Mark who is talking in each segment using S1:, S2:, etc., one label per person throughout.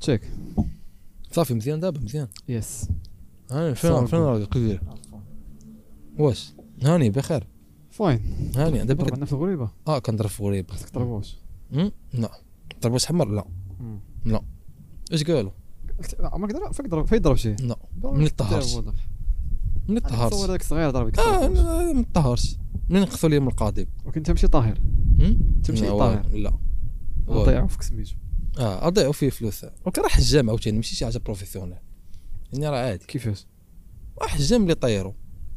S1: تشيك
S2: صافي مزيان دابا مزيان
S1: يس
S2: هاني فين
S1: صافي.
S2: فين راك كبير واش هاني بخير
S1: فاين
S2: هاني دابا
S1: ضرب
S2: كت- نعم.
S1: عندنا في الغريبه
S2: اه كنضرب في غريب
S1: خاصك تضربوش
S2: لا طربوش حمر لا
S1: مم.
S2: اش قالوا
S1: قلت- لا، عمرك ضرب فيك ضرب فين ضرب شي
S2: لا
S1: ضرب
S2: من
S1: شي حتى هو
S2: الطهارس.
S1: ضرب.
S2: من
S1: أنا نتصور
S2: الطهارس
S1: هذاك الصغير ضربك
S2: اه
S1: ضربوش.
S2: أنا ما طهرش من خثوا لي من القاضي
S1: وكنت تمشي طاهر
S2: هم؟
S1: تمشي
S2: لا،
S1: للطاهر.
S2: والو، لا والو.
S1: نضيعو فيك سميتو
S2: اه اضيعوا فيه فلوس وكان راه حجام عاوتاني ماشي شي حاجه بروفيسيونيل يعني راه عادي
S1: كيفاش
S2: راه حجام اللي طيروا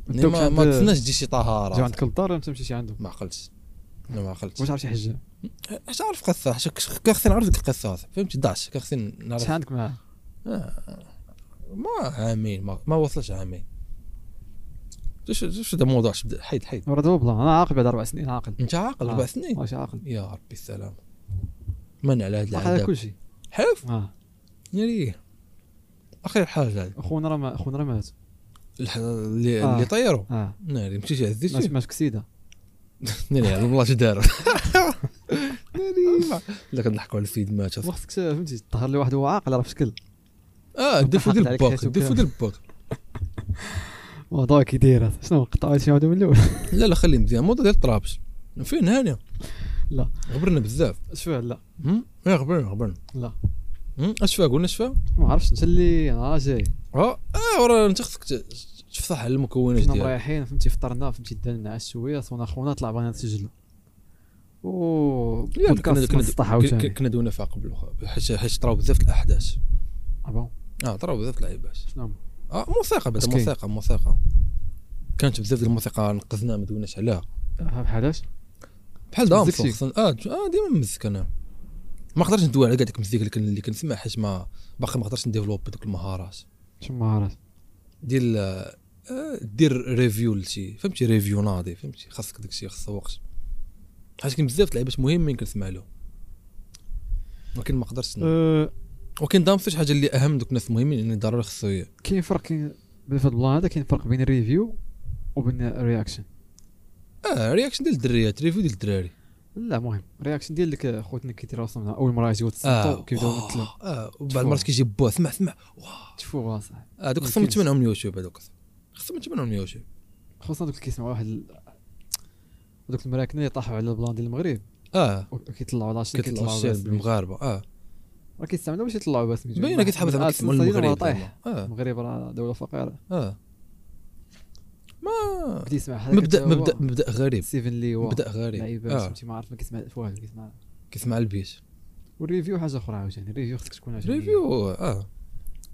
S2: يعني
S1: دوك
S2: ما
S1: عند-
S2: ما تسناش تجي شي
S1: جا
S2: طهاره
S1: عندك للدار ولا تمشي شي عنده
S2: ما عقلتش انا ما عقلتش
S1: واش عرفت شي حجه
S2: اش عارف قصه اش كنخصني نعرف ديك القصه هذه. فهمتي داش كنخصني
S1: شحال
S2: نعرف
S1: عندك معاه
S2: آه، ما عامين ما, ما وصلش عامين شو شو- شو هذا الموضوع شو بدا- حيد حيد
S1: ورا دوبلا انا عاقل بعد اربع سنين عاقل
S2: انت عاقل
S1: آه.
S2: اربع سنين
S1: ماشي عاقل
S2: يا ربي السلام من على هذا
S1: عاقل على
S2: العذاب
S1: كلشي
S2: حف
S1: اه
S2: يريه اخير حاجه هذه.
S1: اخونا راه ما- اخونا راه مات
S2: الح- اللي
S1: آه.
S2: اللي طيروا
S1: اه
S2: ناري مشيت هزيت
S1: مات
S2: فيه
S1: مات كسيده
S2: ناري على الله شو داروا ناري ما- لا كنضحكوا على السيد مات
S1: ما خصك فهمتي تطهر لي واحد هو عاقل راه في شكل
S2: اه دفو ديال
S1: حقد عليك
S2: الباك
S1: حياتك
S2: دفو
S1: كامل.
S2: ديال الباك
S1: الموضوع كي داير هذا. شنو قطعوا شي واحد من الاول
S2: لا لا خلي مزيان الموضوع ديال طرابلس فين هانيه
S1: لا.
S2: غبرنا بزاف
S1: شوف لا
S2: هم؟ ايه غبرنا غبرنا
S1: لا.
S2: هم؟ اش فيها قلنا اش فيها
S1: ما عرفتش انت اللي انا جاي
S2: اه اه ورا انت خصك ت- تفصح على المكونات
S1: كنا
S2: ديالها
S1: مريحين فهمتي فطرنا فهمتي دانا عشت شويه صونا خونا طلع بغينا نسجلوا و
S2: لا، كنا-
S1: بودكاست
S2: كنا-
S1: من السطح
S2: كنا-
S1: عاوتاني
S2: كنا دونا فيها قبل وخ- حيت حيت طراو بزاف د الاحداث
S1: آه بون
S2: اه طراو بزاف د العيبات
S1: شنو
S2: اه موسيقى بعد
S1: مسكين.
S2: موسيقى موسيقى كانت بزاف ديال الموسيقى نقزنا ما دوناش عليها
S1: آه، بحال اش
S2: بحال دام
S1: مزيكتي.
S2: خصنا- اه ج- اه ديما مزك انا ما قدرتش ندوي على كاع ديك المزيك اللي كن- اللي كنسمع حيت ما باقي ما قدرتش نديفلوبي دوك المهارات
S1: شنو مهارات
S2: ديال آه، دير ريفيو لشي فهمتي ريفيو ناضي فهمتي خاصك داكشي خاص وقت حيت كاين بزاف د اللعيبات مهمين كنسمع لهم ولكن ما قدرتش ن-
S1: آه،
S2: ولكن دامس شي حاجه اللي اهم دوك الناس المهمين يعني ضروري خصو ي-
S1: كاين فرق كاين بالنسبه للبلان هذا كاين فرق بين الريفيو وبين الرياكشن
S2: اه رياكشن ديال الدريات ريفيو ديال الدراري
S1: لا مهم الرياكشن ديال ديك خوتنا كيديروا راسهم اول مره يجيو
S2: اه
S1: تصنتوا كيبداو
S2: واه،
S1: مثلا
S2: اه وبعض
S1: تفوق.
S2: المرات كيجي بوه سمع سمع
S1: تشوفوا صح
S2: هذوك خصهم
S1: ممكن.
S2: يتمنعوا من اليوتيوب هذوك خصهم يتمنعوا من اليوتيوب
S1: خصوصا دوك اللي كيسمعوا واحد ال- دوك المراكنه اللي طاحوا على البلان ديال المغرب
S2: اه
S1: وكيطلعوا لاشين
S2: كيطلعوا
S1: كيطلعوا
S2: الشير
S1: باسمي.
S2: بالمغاربه اه
S1: راه كيستعملوا باش يطلعوا باسم
S2: باينه كيتحب هذا كيسمعوا المغرب زعما. اه
S1: المغرب راه دوله فقيره
S2: اه ما
S1: بدي يسمع هذا
S2: مبدا مبدا مبدا غريب
S1: سيفن لي هو
S2: مبدا غريب
S1: لعيبه
S2: اه
S1: فهمتي ما عرف ما كيسمع في والو كيسمع
S2: كيسمع البيت
S1: والريفيو حاجه اخرى عاوتاني الريفيو خصك تكون عجبك
S2: ريفيو اه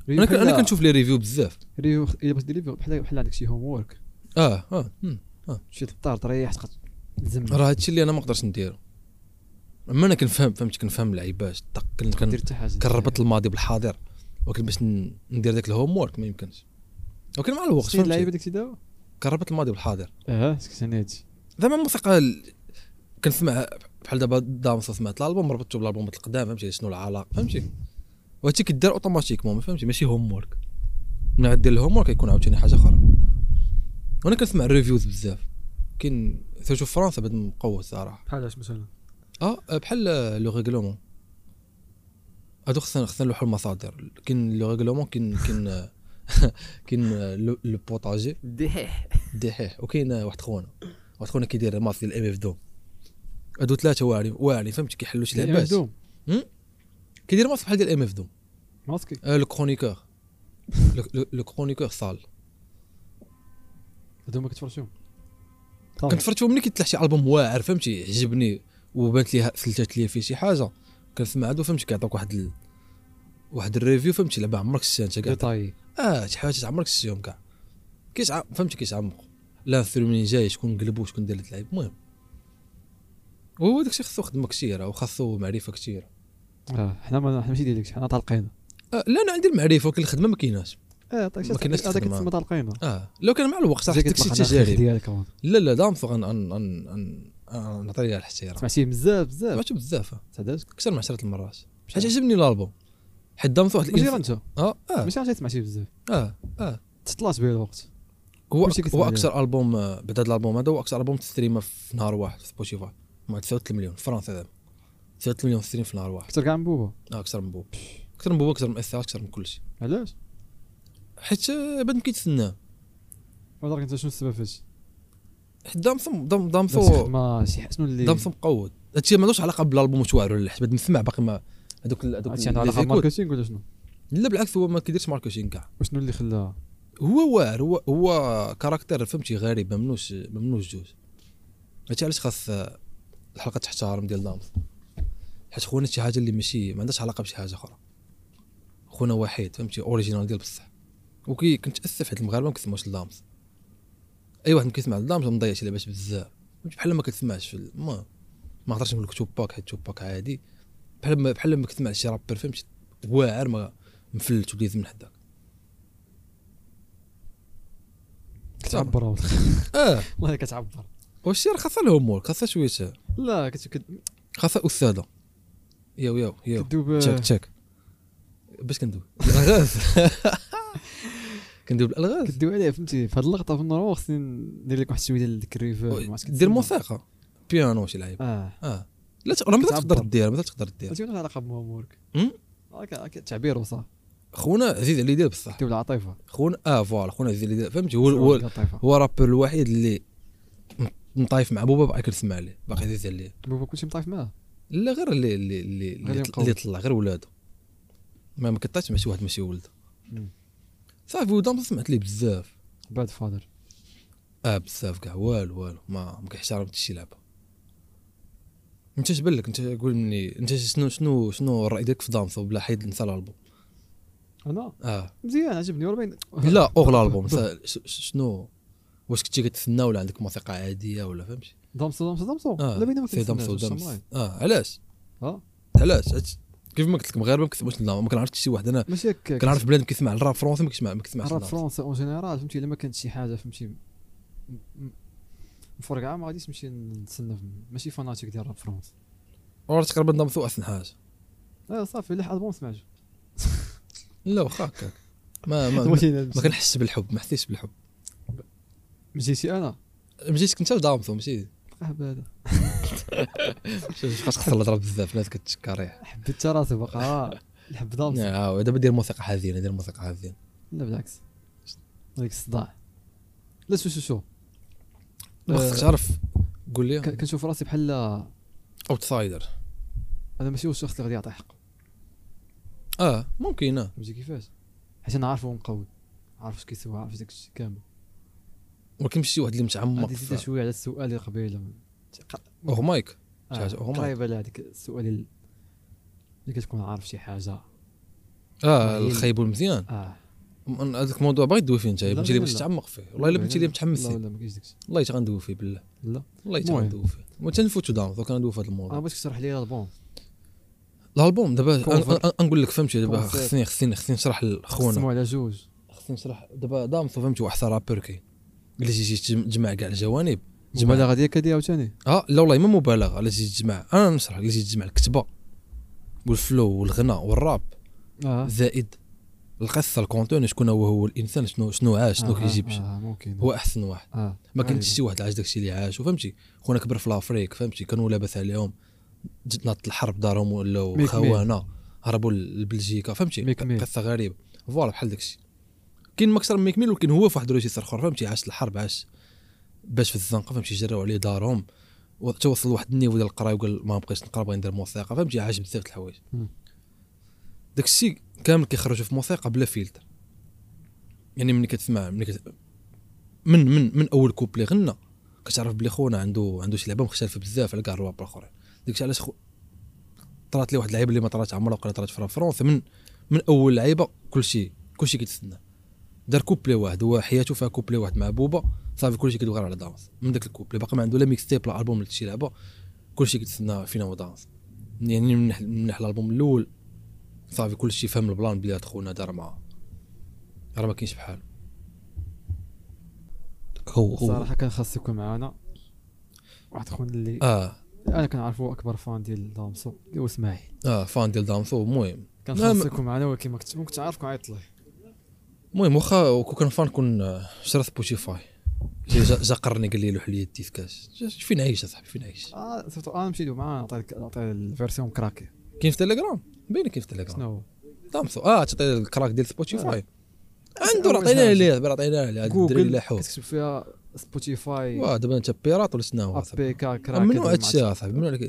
S1: الريفيو
S2: انا كن- انا
S1: بحال-
S2: كنشوف لي ريفيو بزاف
S1: الريفيو خ- الا بغيتي دير ريفيو بحال بحال عندك شي هوم وورك
S2: اه اه مم.
S1: شي للدار تريح تقد تزم
S2: راه هادشي اللي انا ما نقدرش نديرو اما انا كنفهم فهمت كنفهم العيبات طق كن- كن-
S1: دير حتى حاجه
S2: كنربط الماضي بالحاضر ولكن باش ن- ندير داك الهوم وورك ما يمكنش ولكن مع الوقت
S1: شتي اللعيبه
S2: فهمت
S1: ديك تداو
S2: كنربط الماضي بالحاضر
S1: اه سكتني هادشي
S2: زعما الموسيقى ال- كنسمع بحال دابا دامس سمعت الالبوم ربطته بالالبومات القدام فهمتي شنو العلاقه فهمتي وهادشي كيدار اوتوماتيكمون فهمتي ماشي هوم وورك من عاد دير الهوم وورك كيكون عاوتاني حاجه اخرى وانا كنسمع الريفيوز بزاف كاين سيرتو في فرنسا بعد مقوى صراحه
S1: بحال اش مثلا
S2: اه بحال لو ريغلومون هادو خصنا خصنا نلوحو المصادر كاين لو ريغلومون كاين كاين كاين لو لو بوتاجي
S1: دحيح
S2: دحيح وكاين واحد خونا واحد خونا كيدير ماتش ديال الام اف دوم هادو ثلاثه واعرين واعرين فهمتي كيحلوا شي لعبات
S1: دوم
S2: كيدير ماتش بحال ديال الام اف دوم
S1: ماسكي
S2: آه، لو كرونيكور لو- لو- لو كرونيكور صال
S1: هادو ما كتفرجوهم
S2: كنت فرتو ملي كيطلع شي البوم واعر فهمتي عجبني وبانت لي سلتات لي فيه شي حاجه كنسمع هادو فهمتي كيعطوك واحد ال... واحد الريفيو فهمتي لعبه عمرك شتها كاع
S1: ديتاي
S2: اه شي حاجات عمرك شتيهم كاع كيتع فهمتي كيتعمقوا لا الثرو منين جاي شكون قلبو شكون دار اللعيب المهم وهو داكشي خصو خدمه كثيره وخاصو معرفه كثيره
S1: اه حنا ما حنا ماشي ديالك حنا طالقينا
S2: آه لا انا عندي المعرفه ولكن الخدمه ما كايناش
S1: اه طيب
S2: ما كناش
S1: هذاك
S2: تخدم،
S1: تسمى طالقينا
S2: اه لو كان مع الوقت صح
S1: جاك
S2: داكشي
S1: يطلق على الخير
S2: تجارب
S1: ديالك هو.
S2: لا لا دامفو غن- غن- غن- غن- آه، نعطي ليها الاحترام
S1: سمعتيه بزاف بزاف
S2: سمعتو بزاف آه.
S1: تعداش
S2: اكثر من 10 المرات حيت عجبني الالبوم حيت دامت واحد
S1: ماشي غير
S2: الانسان
S1: انت
S2: اه اه
S1: ماشي غير سمعتيه بزاف
S2: اه اه
S1: تطلعت به الوقت
S2: هو
S1: كلشي كيسمع
S2: هو
S1: ديالو.
S2: اكثر البوم آه، بعد هذا الالبوم هذا هو اكثر البوم تستريمه في نهار واحد في سبوتيفاي مع 3 مليون في فرنسا دابا 3 مليون ستريم في نهار واحد
S1: er اكثر كاع من بوبا
S2: آه، اكثر من بوب اكثر من بوبا اكثر من اس اكثر من كلشي
S1: علاش
S2: حيت آه، بنادم كيتسناه
S1: ولكن انت شنو السبب في هادشي
S2: حيت دامسون دام
S1: نفس
S2: دامسون
S1: الخدمه شي حاجة شنو اللي
S2: دامسون مقود هادشي ما عندوش علاقه بالالبوم وش والو لا حيت بنادم سمع باقي ما هذوك
S1: هادشي
S2: هذوك
S1: عنده علاقه بالماركتينغ ولا شنو
S2: لا بالعكس هو ما كيديرش ماركتينغ كاع
S1: وشنو اللي خلاها
S2: هو واعر هو هو كاركتر فهمتي غريب ممنوش ممنوش جوج هادشي علاش خاص آه، الحلقه تحترم ديال دامس حيت خونا شي حاجه اللي ماشي ما عندهاش علاقه بشي حاجه اخرى خونا وحيد فهمتي اوريجينال ديال بصح وكي كنت اسف حيت المغاربه ما كيسمعوش لدامس اي واحد ما كيسمع لدامس مضيع شي لعبات بزاف فهمتي بحال ما كتسمعش في ال- ما ما نقدرش نقول لك توباك حيت توباك عادي بحال ما بحال ما كتسمعش شي رابر فهمتي واعر ما مفلت وليز من حداك
S1: كتعبر والله.
S2: اه
S1: والله كتعبر
S2: واش راه خاصها الهومورك خاصها شويه
S1: لا كت- كت-
S2: خاصها استاذه ياو ياو ياو
S1: كدوب
S2: تشيك تشيك باش كندوي الالغاز كندوي بالالغاز
S1: كدوي عليه فهمتي في هاد اللقطه في النور خصني ندير لك واحد شويه ديال ديك الريفيرب ما عرفت
S2: دير
S1: كتسمع.
S2: موسيقى بيانو شي لعيب
S1: اه
S2: اه لا ت- راه ما
S1: كتعبر.
S2: تقدر دير ما تقدر دير
S1: عرفتي واش علاقه بهومورك
S2: أم؟
S1: Ah, تعبير وصافي
S2: خونا عزيز عليه دير بصح
S1: كتب العاطفه
S2: خونا اه فوالا خونا عزيز عليه دير فهمتي هو هو
S1: العاطفه
S2: هو الرابر الوحيد اللي م- مطايف مع بوبا باقي كنسمع ليه باقي عزيز عليه
S1: بابا كلشي مطايف معاه
S2: لا غير اللي اللي اللي
S1: غير
S2: اللي,
S1: يبقاو.
S2: اللي طلع غير ولادو ما ما كطلعش مع شي واحد ماشي ولده
S1: مم.
S2: صافي ودام سمعت ليه بزاف
S1: باد فادر
S2: اه بزاف كاع والو والو ما ما كيحترم حتى شي لعبه انت اش بان لك انت قول مني انت شنو شنو شنو الراي ديالك في دامسو بلا حيد نسى الالبوم
S1: انا
S2: اه
S1: مزيان عجبني ورا باين
S2: لا اغلى البوم نسى ش- ش- شنو واش كنتي كتسنى ولا عندك موسيقى عاديه ولا فهمتي
S1: دامسو دامسو دامسو
S2: اه
S1: لا بينا ما
S2: سي دامسو
S1: كنتسناش،
S2: دامس
S1: الساموراي.
S2: اه علاش
S1: اه
S2: علاش علاش؟ كيف ما قلت لك مغاربه ما كيسمعوش للدام. ما كنعرفش شي واحد انا
S1: ماشي هكا
S2: كنعرف بلاد كيسمع الراب فرونسي ما كيسمع ما كيسمعش
S1: عرف
S2: الدام.
S1: فرنسا اون جينيرال فهمتي الا ما كانت شي حاجه فهمتي م- م- مفرقعه ما غاديش نمشي نتصنف ماشي فاناتيك ديال راب فرنسا
S2: وراه تقريبا دامسو احسن حاجه
S1: اه صافي لا حد ما
S2: آه،
S1: سمعتش
S2: لا واخا هكاك ما ما ما, ما كنحسش بالحب ما حسيتش بالحب
S1: مشيتي انا
S2: مشيت كنت لدامسو ماشي
S1: قهبه هذا
S2: شوف فاش خسر الهضره بزاف الناس كتشكر
S1: حبيت حتى راسي باقا آه، الحب دامسو
S2: اه دابا دير موسيقى حزينه دير موسيقى حزينه
S1: لا بالعكس هذيك الصداع لا شو شو شو
S2: ما خصك
S1: آه،
S2: تعرف قول
S1: ك-
S2: لي
S1: كنشوف راسي بحال
S2: اوتسايدر
S1: انا ماشي هو الشخص اللي غادي يعطي حقه
S2: اه ممكن اه
S1: فهمتي كيفاش حيت انا عارفه مقود عارف اش كيسوى عارف داك الشيء كامل
S2: ولكن ماشي واحد اللي متعمق
S1: غادي زيد
S2: في-
S1: شويه على السؤال اللي قبيله
S2: اوه مايك
S1: آه،
S2: شي حاجة أغمض.
S1: قريبه لهذيك السؤال ال- اللي كتكون عارف شي حاجه
S2: اه
S1: هي-
S2: الخايب والمزيان
S1: اه
S2: م- هذاك الموضوع باغي تدوي فيه انت
S1: لا،
S2: بنتي لي
S1: لا،
S2: باش
S1: لا.
S2: تعمق فيه والله الا بنتي لي متحمس
S1: لا
S2: ليه
S1: لا ما كاينش داكشي
S2: والله حتى غندوي فيه بالله
S1: لا
S2: والله حتى
S1: المهم.
S2: غندوي فيه المهم تنفوتو داون دوك غندوي في هذا
S1: انا
S2: الموضوع
S1: آه، بغيتك تشرح لي البوم
S2: الالبوم دابا
S1: Cover.
S2: أن- أن- نقول لك فهمتي دابا
S1: Concept.
S2: خصني خصني خصني نشرح لخونا
S1: قسموا على جوج
S2: خصني نشرح دابا دامسو فهمتي واحد رابر كي اللي تيجي تجمع كاع الجوانب جمع
S1: مبالغه ديالك هذه عاوتاني
S2: اه لا والله ما مبالغه الا جيت تجمع انا نشرح الا جيت تجمع الكتبه والفلو والغناء والراب آه.
S1: اه
S2: زائد القصه الكونتون شكون هو هو الانسان شنو شنو عاش شنو
S1: آه،
S2: كيجيب
S1: آه، آه، ممكن
S2: هو احسن واحد
S1: اه
S2: ما كانش
S1: غريبة.
S2: شي واحد عاش داكشي اللي عاش فهمتي خونا كبر في لافريك فهمتي كانوا لاباس عليهم جت ناط الحرب دارهم ولاو
S1: ميك
S2: خوانا هربوا ل- لبلجيكا فهمتي
S1: ميك ميل.
S2: قصه غريبه فوالا بحال داكشي كاين ما اكثر من ميك ميل ولكن هو في واحد الريجيستر اخر فهمتي عاش الحرب عاش باش في الزنقه فهمتي جراو عليه دارهم و- حتى وصل لواحد النيفو ديال القرايه وقال ما بقيتش نقرا بغي ندير موسيقى فهمتي عاش بزاف د الحوايج
S1: مم.
S2: داك الشيء كامل كيخرجوا في موسيقى بلا فلتر يعني ملي كتسمع ملي كت... من من من اول كوبلي غنى كتعرف بلي خونا عنده عنده شي لعبه مختلفه بزاف على كاع الرواب الاخرين داكشي علاش خو... طرات لي واحد اللعيبه اللي ما طرات عمرها وقال طرات في فرنسا من من اول لعيبه كلشي كلشي كيتسنى دار كوبلي واحد هو حياته فيها كوبلي واحد مع بوبا صافي كلشي كيدوي غير على دانس من داك الكوبلي باقي ما عنده لا ميكس تيب لا البوم لا شي لعبه كلشي كيتسنى فينا هو دانس يعني من ناح- من ناحيه الالبوم الاول صافي كلشي فهم البلان بلي هاد خونا دار معاه راه ما كاينش بحال هو هو
S1: صراحه كان خاص يكون معانا واحد خونا اللي
S2: اه
S1: انا كنعرفو اكبر فان ديال دامسو اللي هو اسماعيل
S2: اه فان ديال دامسو المهم
S1: كان
S2: لا،
S1: خاص
S2: ما-
S1: يكون معانا ولكن ما كنت ما كنت عارف كون عيط ليه
S2: المهم واخا وكون كان فان كون آه، شرا سبوتيفاي جا جا- جا قرني قال لي لوح لي الديسكاش جا- فين عايش اصاحبي فين عايش
S1: اه سيرتو انا مشيت معاه نعطيه نعطيه طيب، الفيرسيون كراكي
S2: كاين في تيليجرام باين كاين في تيليجرام
S1: شنو هو
S2: دامسو اه تعطي الكراك ديال سبوتيفاي عنده
S1: أول
S2: راه عطينا
S1: حاجة.
S2: عليه راه عطينا عليه هاد الدراري
S1: جوجل
S2: اللي حوه
S1: كتكتب فيها سبوتيفاي
S2: واه دابا انت بيرات ولا شنو هو
S1: ابي كا كراك
S2: ممنوع هادشي اصاحبي ممنوع عليك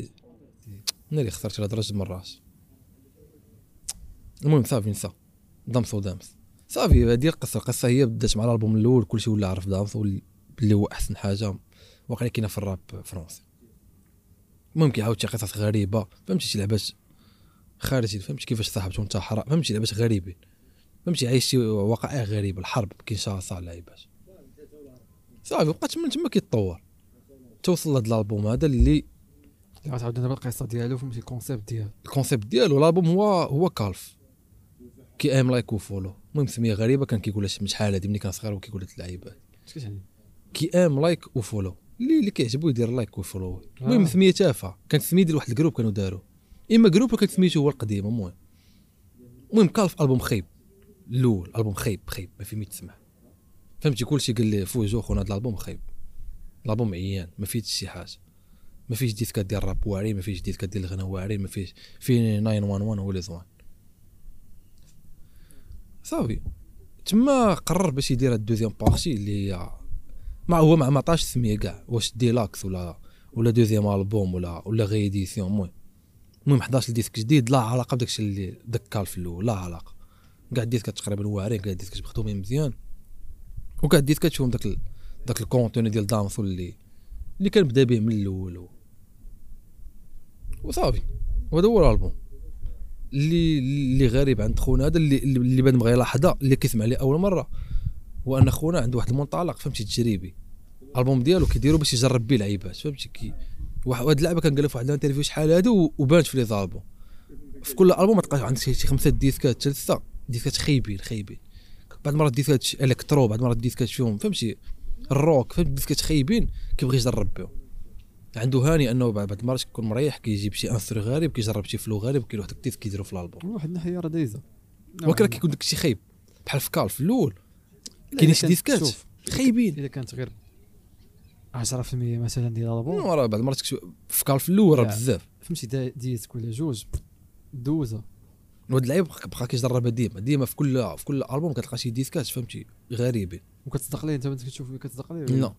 S2: انا اللي خسرت لهضره مرات المهم صافي نسى دامس ودامس صافي هادي القصه القصه هي بدات مع الالبوم الاول كلشي ولا عرف دامس وال- اللي هو احسن حاجه واقيلا كاينه في الراب الفرنسي المهم كيعاود شي قصص غريبه فهمتي شي لعبات خارجي فهمتي كيفاش صاحبته انت حرام فهمتي شي لعبات غريبين فهمتي عايش شي وقائع غريبه الحرب كينشاصا لعيبات صافي بقات من تما كيتطور توصل لهاد الالبوم هذا اللي
S1: غتعاود لنا بالقصه ديالو فهمتي الكونسيبت ديالو
S2: الكونسيبت ديالو الالبوم هو هو كالف كي ايم لايك وفولو المهم سميه غريبه كان كيقولها شي من شحال هادي ملي كان صغير وكيقول هاد اللعيبه
S1: اش كتعني
S2: كي ايم لايك وفولو اللي اللي كيعجبو يدير لايك وفولو المهم
S1: آه.
S2: سميه تافهه كانت سميه ديال واحد الجروب كانوا داروا اما جروب ولا كانت سميتو هو القديم المهم المهم كالف البوم خايب الاول البوم خايب خايب ما فيه ما تسمع فهمتي كلشي قال لي فوجو خونا هاد الالبوم خايب الالبوم عيان ما فيه حتى شي حاجه ما فيش ديسكات ديال الراب واعرين ما فيش ديسكات ديال الغنى واعرين ما فيش في 911 ولا زوان صافي تما قرر باش يدير هاد الدوزيام بارتي اللي هي ما هو ما ما عطاش سميه كاع واش ديلاكس ولا ولا دوزيام البوم ولا ولا غيديسيون المهم المهم 11 ديسك جديد لا علاقه بداكشي اللي دكال في الاول لا علاقه كاع الديسكات تقريبا واعرين كاع الديسكات مخدومين مزيان وكاع الديسكات تشوفهم داك ال- داك الكونتوني ديال دامسو اللي اللي كان بدا به من الاول هو. وصافي وهذا هو الالبوم اللي اللي غريب عند خونا هذا اللي اللي بان بغى يلاحظها اللي كيسمع ليه اول مره هو ان خونا عنده واحد المنطلق فهمتي تجريبي الالبوم ديالو كيديرو باش يجرب بيه لعيبات فهمتي كي واحد واحد اللعبه كان قال في واحد الانترفيو شحال هادو وبانت في لي زالبوم في كل البوم تلقى عندك شي شي خمسه ديسكات ثلاثه ديسكات خايبين خايبين بعض المرات ديسكات ش- الكترو بعض المرات ديسكات فيهم فهمتي الروك فهمت ديسكات خايبين كيبغي يجرب بهم عنده هاني انه بعد بعد المرات كيكون مريح كيجيب شي انسترو غريب كيجرب شي فلو غريب كيروح داك الديسك كيديرو في الالبوم
S1: من واحد الناحيه راه دايزه
S2: ولكن راه كيكون داك الشيء خايب بحال في كال في الاول
S1: نعم. لا، إلا
S2: كاينين شي
S1: كانت-
S2: ديسكات
S1: شوف
S2: خايبين
S1: الا كانت غير 10% مثلا ديال الالبوم
S2: راه بعد المرات كتشوف- في كال في الاول راه
S1: لا.
S2: بزاف
S1: فهمتي دا- ديسك ولا جوج دوزه
S2: وهاد اللعيب بقى بقى كيجربها ديما ديما في كل في كل البوم كتلقى شي ديسكات فهمتي غريبين
S1: وكتصدق ليه انت ما كتشوف كتصدق ليه
S2: لا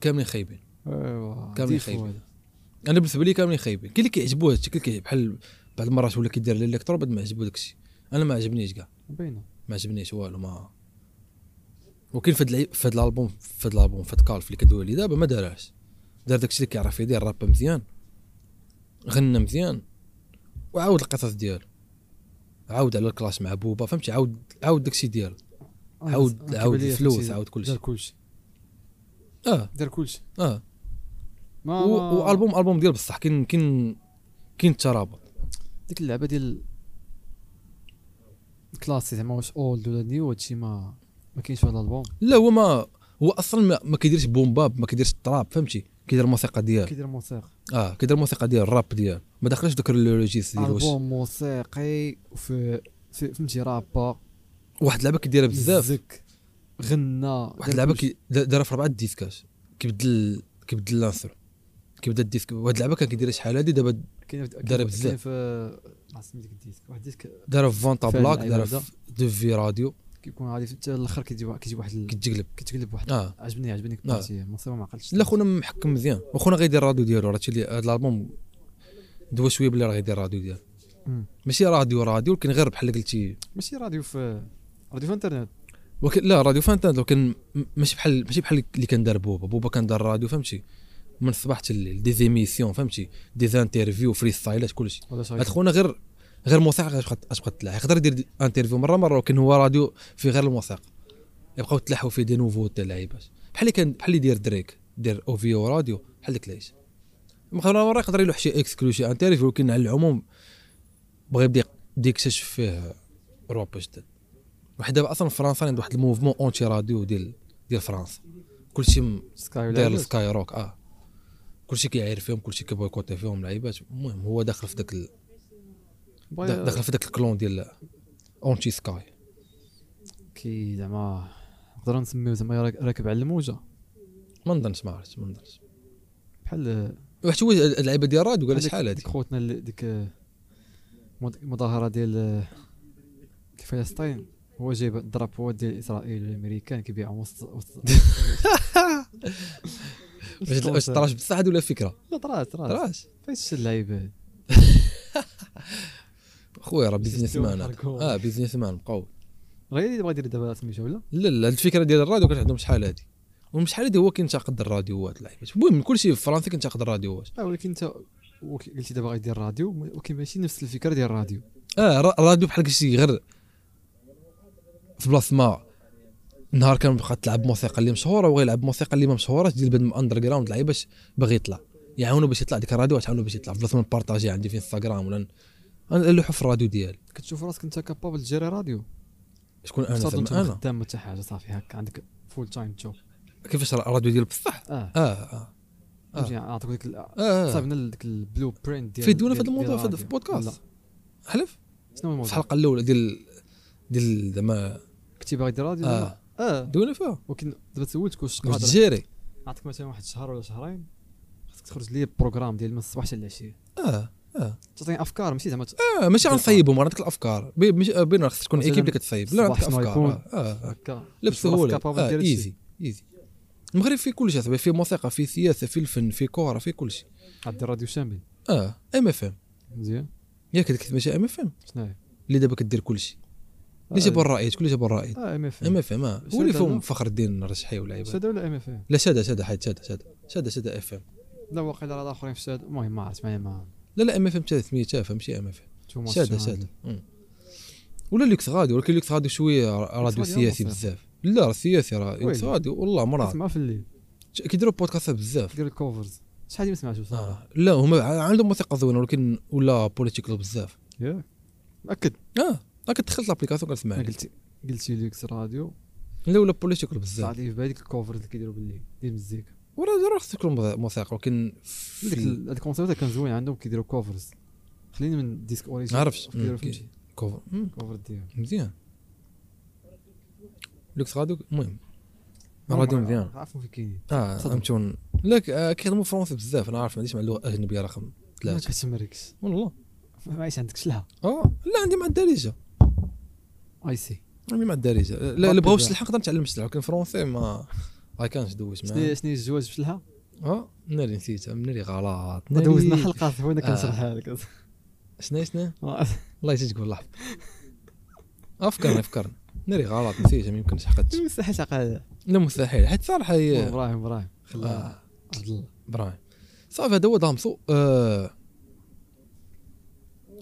S2: كاملين خايبين
S1: ايوا
S2: كامل
S1: ديفو
S2: خايبين.
S1: هذا.
S2: انا بالنسبه لي كاملين خايبين كاين اللي كيعجبو هادشي كاين اللي كيعجب- بحال بعض المرات ولا كيدير الالكترو بعد ما عجبو داكشي انا ما عجبنيش كاع
S1: باينه
S2: ما عجبنيش والو ما وكاين فهاد العيب فهاد الالبوم فهاد الالبوم فهاد كالف اللي كدوي لي دابا ما دارهاش دار داكشي اللي كيعرف يدير راب مزيان غنى مزيان وعاود القصص ديالو عاود على الكلاش مع بوبا فهمتي عاود عاود داكشي ديالو عاود- عاود الفلوس، عاود كل
S1: دار
S2: شيء.
S1: كلشي
S2: اه
S1: دار كلشي
S2: اه
S1: ما
S2: و...
S1: ما-
S2: والبوم البوم ديال بصح كاين كاين كاين الترابط
S1: ديك اللعبه ديال كلاسي زعما واش اولد ولا نيو هادشي ما ما كاينش في هذا الالبوم
S2: لا هو ما هو اصلا ما, ما كيديرش بوم باب ما كيديرش التراب فهمتي كيدير الموسيقى ديالو
S1: كيدير موسيقى
S2: اه كيدير الموسيقى ديال الراب ديالو ما دخلش دوك الريجيس ديال واش
S1: البوم موسيقي وفي في فهمتي رابا
S2: واحد اللعبه كيديرها بزاف
S1: مزك، غنى
S2: واحد اللعبه كي- دا- دارها في اربعه ديسكات كيبدل كيبدل لانسر كيبدا الديسك واحد اللعبه كان كيدير شحال هادي دابا دارها
S1: دار
S2: بزاف.
S1: بزاف في عرفت سميت ديك الديسك واحد الديسك
S2: دارها في فونتا
S1: فعلا
S2: بلاك
S1: أيوة
S2: دارها
S1: هذا.
S2: في دو في راديو
S1: كيكون عارف حتى الاخر كيجي واحد- كيجي واحد ال-
S2: كتجقلب
S1: كتقلب واحد
S2: اه
S1: عجبني عجبني البارتي مصيبه ما عقلتش
S2: لا خونا محكم مزيان وخونا غيدير راديو ديالو راه اللي هذا الالبوم دوا شويه بلي راه غيدير راديو ديالو
S1: مم.
S2: ماشي راديو راديو ولكن غير بحال قلتي
S1: ماشي راديو في راديو في انترنت
S2: ولكن لا راديو فانتاند ولكن م- ماشي بحال ماشي بحال اللي كان دار بوبا بوبا كان دار راديو فهمتي من الصباح حتى الليل دي زيميسيون فهمتي دي زانترفيو فري ستايلات كلشي
S1: ولا شي
S2: هاد خونا غير غير موسيقى غتبقى غتبقى تلاح يقدر يدير انترفيو مره مره ولكن هو راديو في غير الموسيقى يبقاو تلاحوا فيه دي نوفو تاع اللعيبات بحال اللي كان بحال اللي داير دريك دير اوفيو راديو بحال داك العيش مره مره يقدر يلوح شي اكسكلو شي انترفيو ولكن على العموم بغى يبدا يبدا يكتشف فيه اوروبا جدد واحد دابا اصلا فرنسا عند واحد الموفمون اونتي راديو ديال ديال فرنسا كلشي م-
S1: سكاي
S2: داير
S1: ولا
S2: السكاي روك اه كلشي كيعاير فيهم كلشي كيبويكوتي فيهم لعيبات المهم هو داخل في داك ال... دا-
S1: باغي
S2: داخل في ذاك الكلون ديال اونتي سكاي
S1: كي زعما نقدروا نسميو زعما راك- راكب على الموجه
S2: ما نظنش ما عرفتش ما نظنش
S1: بحال
S2: واحد هو اللعيبه ديال راد وقال لي
S1: ديك-
S2: شحال هذيك
S1: ديك خوتنا اللي- ديك آه، مد- مظاهره ديال آه، فلسطين هو جايب الدرابوات ديال اسرائيل الامريكان كيبيعهم وسط وسط
S2: واش واش طراش بصح هادي ولا فكره
S1: طراش طراش
S2: طراش
S1: فاش اللعيبه هادي
S2: خويا راه بيزنس مان هذا.
S1: حركوه.
S2: اه بيزنس مان مقوي
S1: غير اللي بغا يدير دابا سميتو ولا
S2: لا لا هاد الفكره ديال الراديو كانت عندهم شحال هادي ومن شحال هادي هو كينتقد الراديوات اللعيبات المهم كلشي في فرنسا كينتقد الراديوات
S1: اه ولكن انت وك- قلتي دابا غادي راديو ولكن ماشي نفس الفكره ديال الراديو
S2: اه را- الراديو بحال كشي غير في بلاصه ما نهار كان بقى تلعب موسيقى اللي مشهوره وغيلعب موسيقى اللي ما مشهوراش ديال بنادم اندر جراوند لعيب باش باغي يطلع يعاونو باش يطلع ديك الراديو تعاونو باش يطلع بلاصه ما نبارطاجي عندي في انستغرام ولا ن- انا نلوحو في الراديو ديالي
S1: كتشوف راسك انت كابابل تجيري راديو
S2: شكون انا
S1: انا
S2: زعما انا
S1: خدام حتى حاجه صافي هكا عندك فول تايم جوب
S2: كيفاش را- الراديو ديال بصح
S1: اه
S2: اه اه آه.
S1: فهمتي نعطيك ديك ال-
S2: اه, آه.
S1: صاحبنا ديك البلو برينت ديال
S2: فيديونا في
S1: ديال-
S2: هذا الموضوع
S1: ديال
S2: في هذا- في
S1: الراديو. لا.
S2: البودكاست حلف
S1: شنو هو
S2: في
S1: الموضوع
S2: الحلقه الاولى ديال ديال زعما
S1: كنتي باغي دير راديو
S2: اه
S1: لا؟ اه
S2: دوينا فيها
S1: ولكن دابا سولتك واش
S2: واش
S1: قادر
S2: تجيري
S1: نعطيك مثلا واحد الشهر ولا شهرين خاصك تخرج لي بروغرام ديال من الصباح حتى العشيه
S2: اه
S1: تعطيني افكار ماشي زعما ت-
S2: اه ماشي
S1: بالضبط.
S2: غنصيبهم غنعطيك الافكار بي- مش آه، بين خص تكون
S1: مثلاً
S2: ايكيب اللي كتصيب لا نعطيك
S1: صباح شنو
S2: افكار
S1: يكون؟
S2: آه، اه آه.
S1: هكا
S2: لا
S1: تشوف راسك
S2: بسهوله
S1: capable
S2: آه،
S1: دير هادشي.
S2: ايزي ايزي المغرب فيه كل شيء صاحبي فيه موسيقى فيه سياسه فيه الفن فيه كوره فيه كل شيء
S1: غدير راديو شامل
S2: اه ام اف ام
S1: مزيان
S2: ياك هذيك ماشي ام اف ام
S1: شنو هي
S2: اللي دابا كدير كل شيء
S1: آه،
S2: اللي جابوا الرائد كل جابوا الرائد
S1: اه ام اف
S2: ام اف ام هو
S1: شادة
S2: اللي
S1: لا؟
S2: فيهم آه. فخر الدين الرشحي والعيبه
S1: شاده ولا ام اف ام
S2: لا شاده شاده حيت شاده شاده شاده شاده اف ام
S1: لا واقيلا راه الاخرين في شاده المهم ما عرفت معايا ما
S2: لا لا ام اف ام حتى سميه تافهه ماشي ام اف ام
S1: شو ما
S2: ساده
S1: شفتش
S2: ساده
S1: معايا.
S2: مم. ولا ليكس غادي ولكن ليكس غادي شويه راديو
S1: راديو
S2: سياسي
S1: مصير.
S2: بزاف لا راه سياسي راه
S1: ويلي.
S2: ليكس غادي والله مرة
S1: كتسمع في الليل
S2: كيديروا بودكاست بزاف
S1: كدير الكوفرز شحال ما سمعتو صح
S2: آه. لا هما ع- عندهم موسيقى زوينه ولكن ولا بوليتيكال بزاف
S1: ياك مأكد
S2: اه راه كتدخل لابليكاسيون كتسمع
S1: ما قلتي قلتي ليكس راديو
S2: لا ولا بوليتيكال
S1: طلع
S2: بزاف
S1: لي في بالي ديك الكوفرز اللي كيديروا بالليل ديال المزيكا
S2: وراه راه خصك تكون موسيقى ولكن
S1: ديك ال- هاد الكونسيبت كان زوين عندهم كيديروا كوفرز خليني من ديسك اوريجين
S2: عرفت.
S1: كيديروا
S2: مم،
S1: فهمتي
S2: كوفر مم،
S1: كوفر ديالهم
S2: مزيان ليكس غادي المهم راديو مزيان
S1: عارفهم في كاينين
S2: اه
S1: صدمة.
S2: فهمتون لك آه كيخدموا فرونسي بزاف انا عارف ما عنديش مع اللغه الاجنبيه رقم
S1: ما
S2: ثلاثه
S1: كتمركش
S2: والله
S1: ما عايش عندك شلها
S2: اه لا عندي مع الدارجه
S1: اي سي
S2: عندي مع الدارجه لا
S1: برك
S2: اللي بغاوش
S1: بزاف.
S2: الحق نقدر نتعلم الشلح ولكن فرونسي ما ما كانش دوز
S1: شنو هي-
S2: معاه
S1: شنو هي الجواز بشلها
S2: اه ناري نسيتها ناري غلط ناري
S1: دوزنا حلقه صافي انا
S2: آه.
S1: كنشرحها لك
S2: شنو شنو الله يجيك والله افكرني افكرني ناري غلط نسيتها ما يمكنش حقت
S1: مستحيل عقل
S2: لا مستحيل حيت صراحه هي
S1: ابراهيم ابراهيم خلاها
S2: آه،
S1: عبد الله
S2: برايم صافي هذا هو دامسو آه،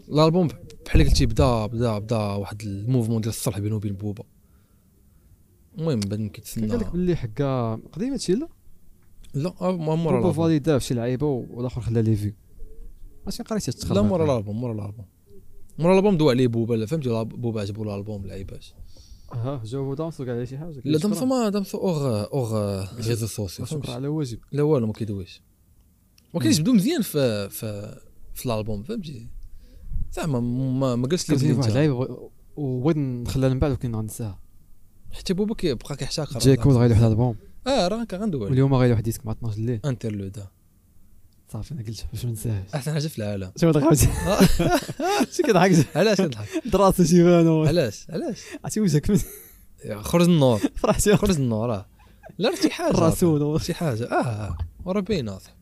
S2: الالبوم بحال قلتي بدا بدا بدا واحد الموفمون ديال الصلح بينه وبين بوبا المهم بعد ما
S1: كان
S2: كيتسنى
S1: قال لك باللي حكا قديم هادشي لا
S2: لا آه، ما مورا
S1: بوبا
S2: الألبوم.
S1: فاليدا فشي لعيبه و- والاخر خلا لي فيو اش قريتي تتخلى
S2: لا مورا الالبوم مورا الالبوم مورا الالبوم دوا عليه بوبا لا فهمتي لا، بوبا عجبو الالبوم لعيباش
S1: ها جاوبوا دامسو كاع على شي حاجه
S2: لا دامسو ما دامسو اوغ اوغ ريزو سوسيو
S1: شكرا
S2: فهمتي
S1: على واجب
S2: لا والو ما كيدويش ولكن جبدو مزيان في في في الالبوم فهمتي زعما ما ما قالش لي
S1: كتجيني
S2: بلي
S1: واحد
S2: انت-
S1: اللعيبه بغ- وبغيت نخليها من بعد ولكن غنساها
S2: حتى بوبا كيبقى كيحتاقر
S1: جاي كود غير واحد البوم
S2: اه راه كندوي
S1: واليوم غير واحد ديسك مع 12 الليل
S2: انترلود
S1: صافي انا قلت باش ما ننساهاش
S2: احسن حاجه في العالم
S1: شنو ضحكت شنو كضحك
S2: علاش كنضحك
S1: دراسه شي بانو
S2: علاش علاش
S1: عرفتي وجهك
S2: يا خرج النور
S1: فرحتي
S2: خرج النور اه لا راه شي حاجه
S1: الرسول
S2: شي حاجه اه وراه باينه أصاحبي.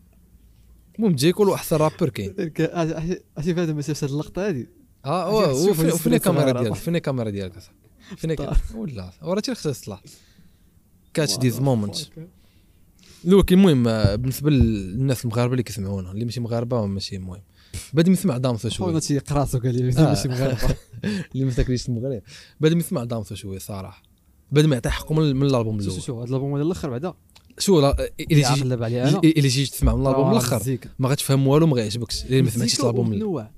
S2: المهم جاي يقولوا احسن رابر كاين
S1: عرفتي فهاد ما شافش هاد اللقطه هادي
S2: اه واه،
S1: شوف
S2: وفين
S1: الناس
S2: فين الكاميرا
S1: صغيرة.
S2: ديالك فين الكاميرا ديالك اصاحبي فين الك- ولا وراه تي خصها تصلح كاتش ديز مومنت لوكي المهم آه، بالنسبه للناس المغاربه اللي كيسمعونا اللي ماشي مغاربه ماشي مهم بعد ما يسمع دامسو شويه
S1: خونا تي قراصو قال لي
S2: آه.
S1: ماشي مغاربه
S2: اللي ما تاكليش المغرب بعد ما يسمع دامسو شويه صراحه بعد ما يعطي حقه من من الالبوم
S1: شوف
S2: الاول
S1: شوف هاد الالبوم ديال الاخر بعدا
S2: شو لا
S1: اللي
S2: الا جيت
S1: عقلب عليه انا
S2: الا جيت تسمع من
S1: آه،
S2: الالبوم الاخر
S1: المزيكا.
S2: ما غاتفهم والو ما غيعجبكش لان ما سمعتيش
S1: المزيكا
S2: الالبوم ال-
S1: متنوع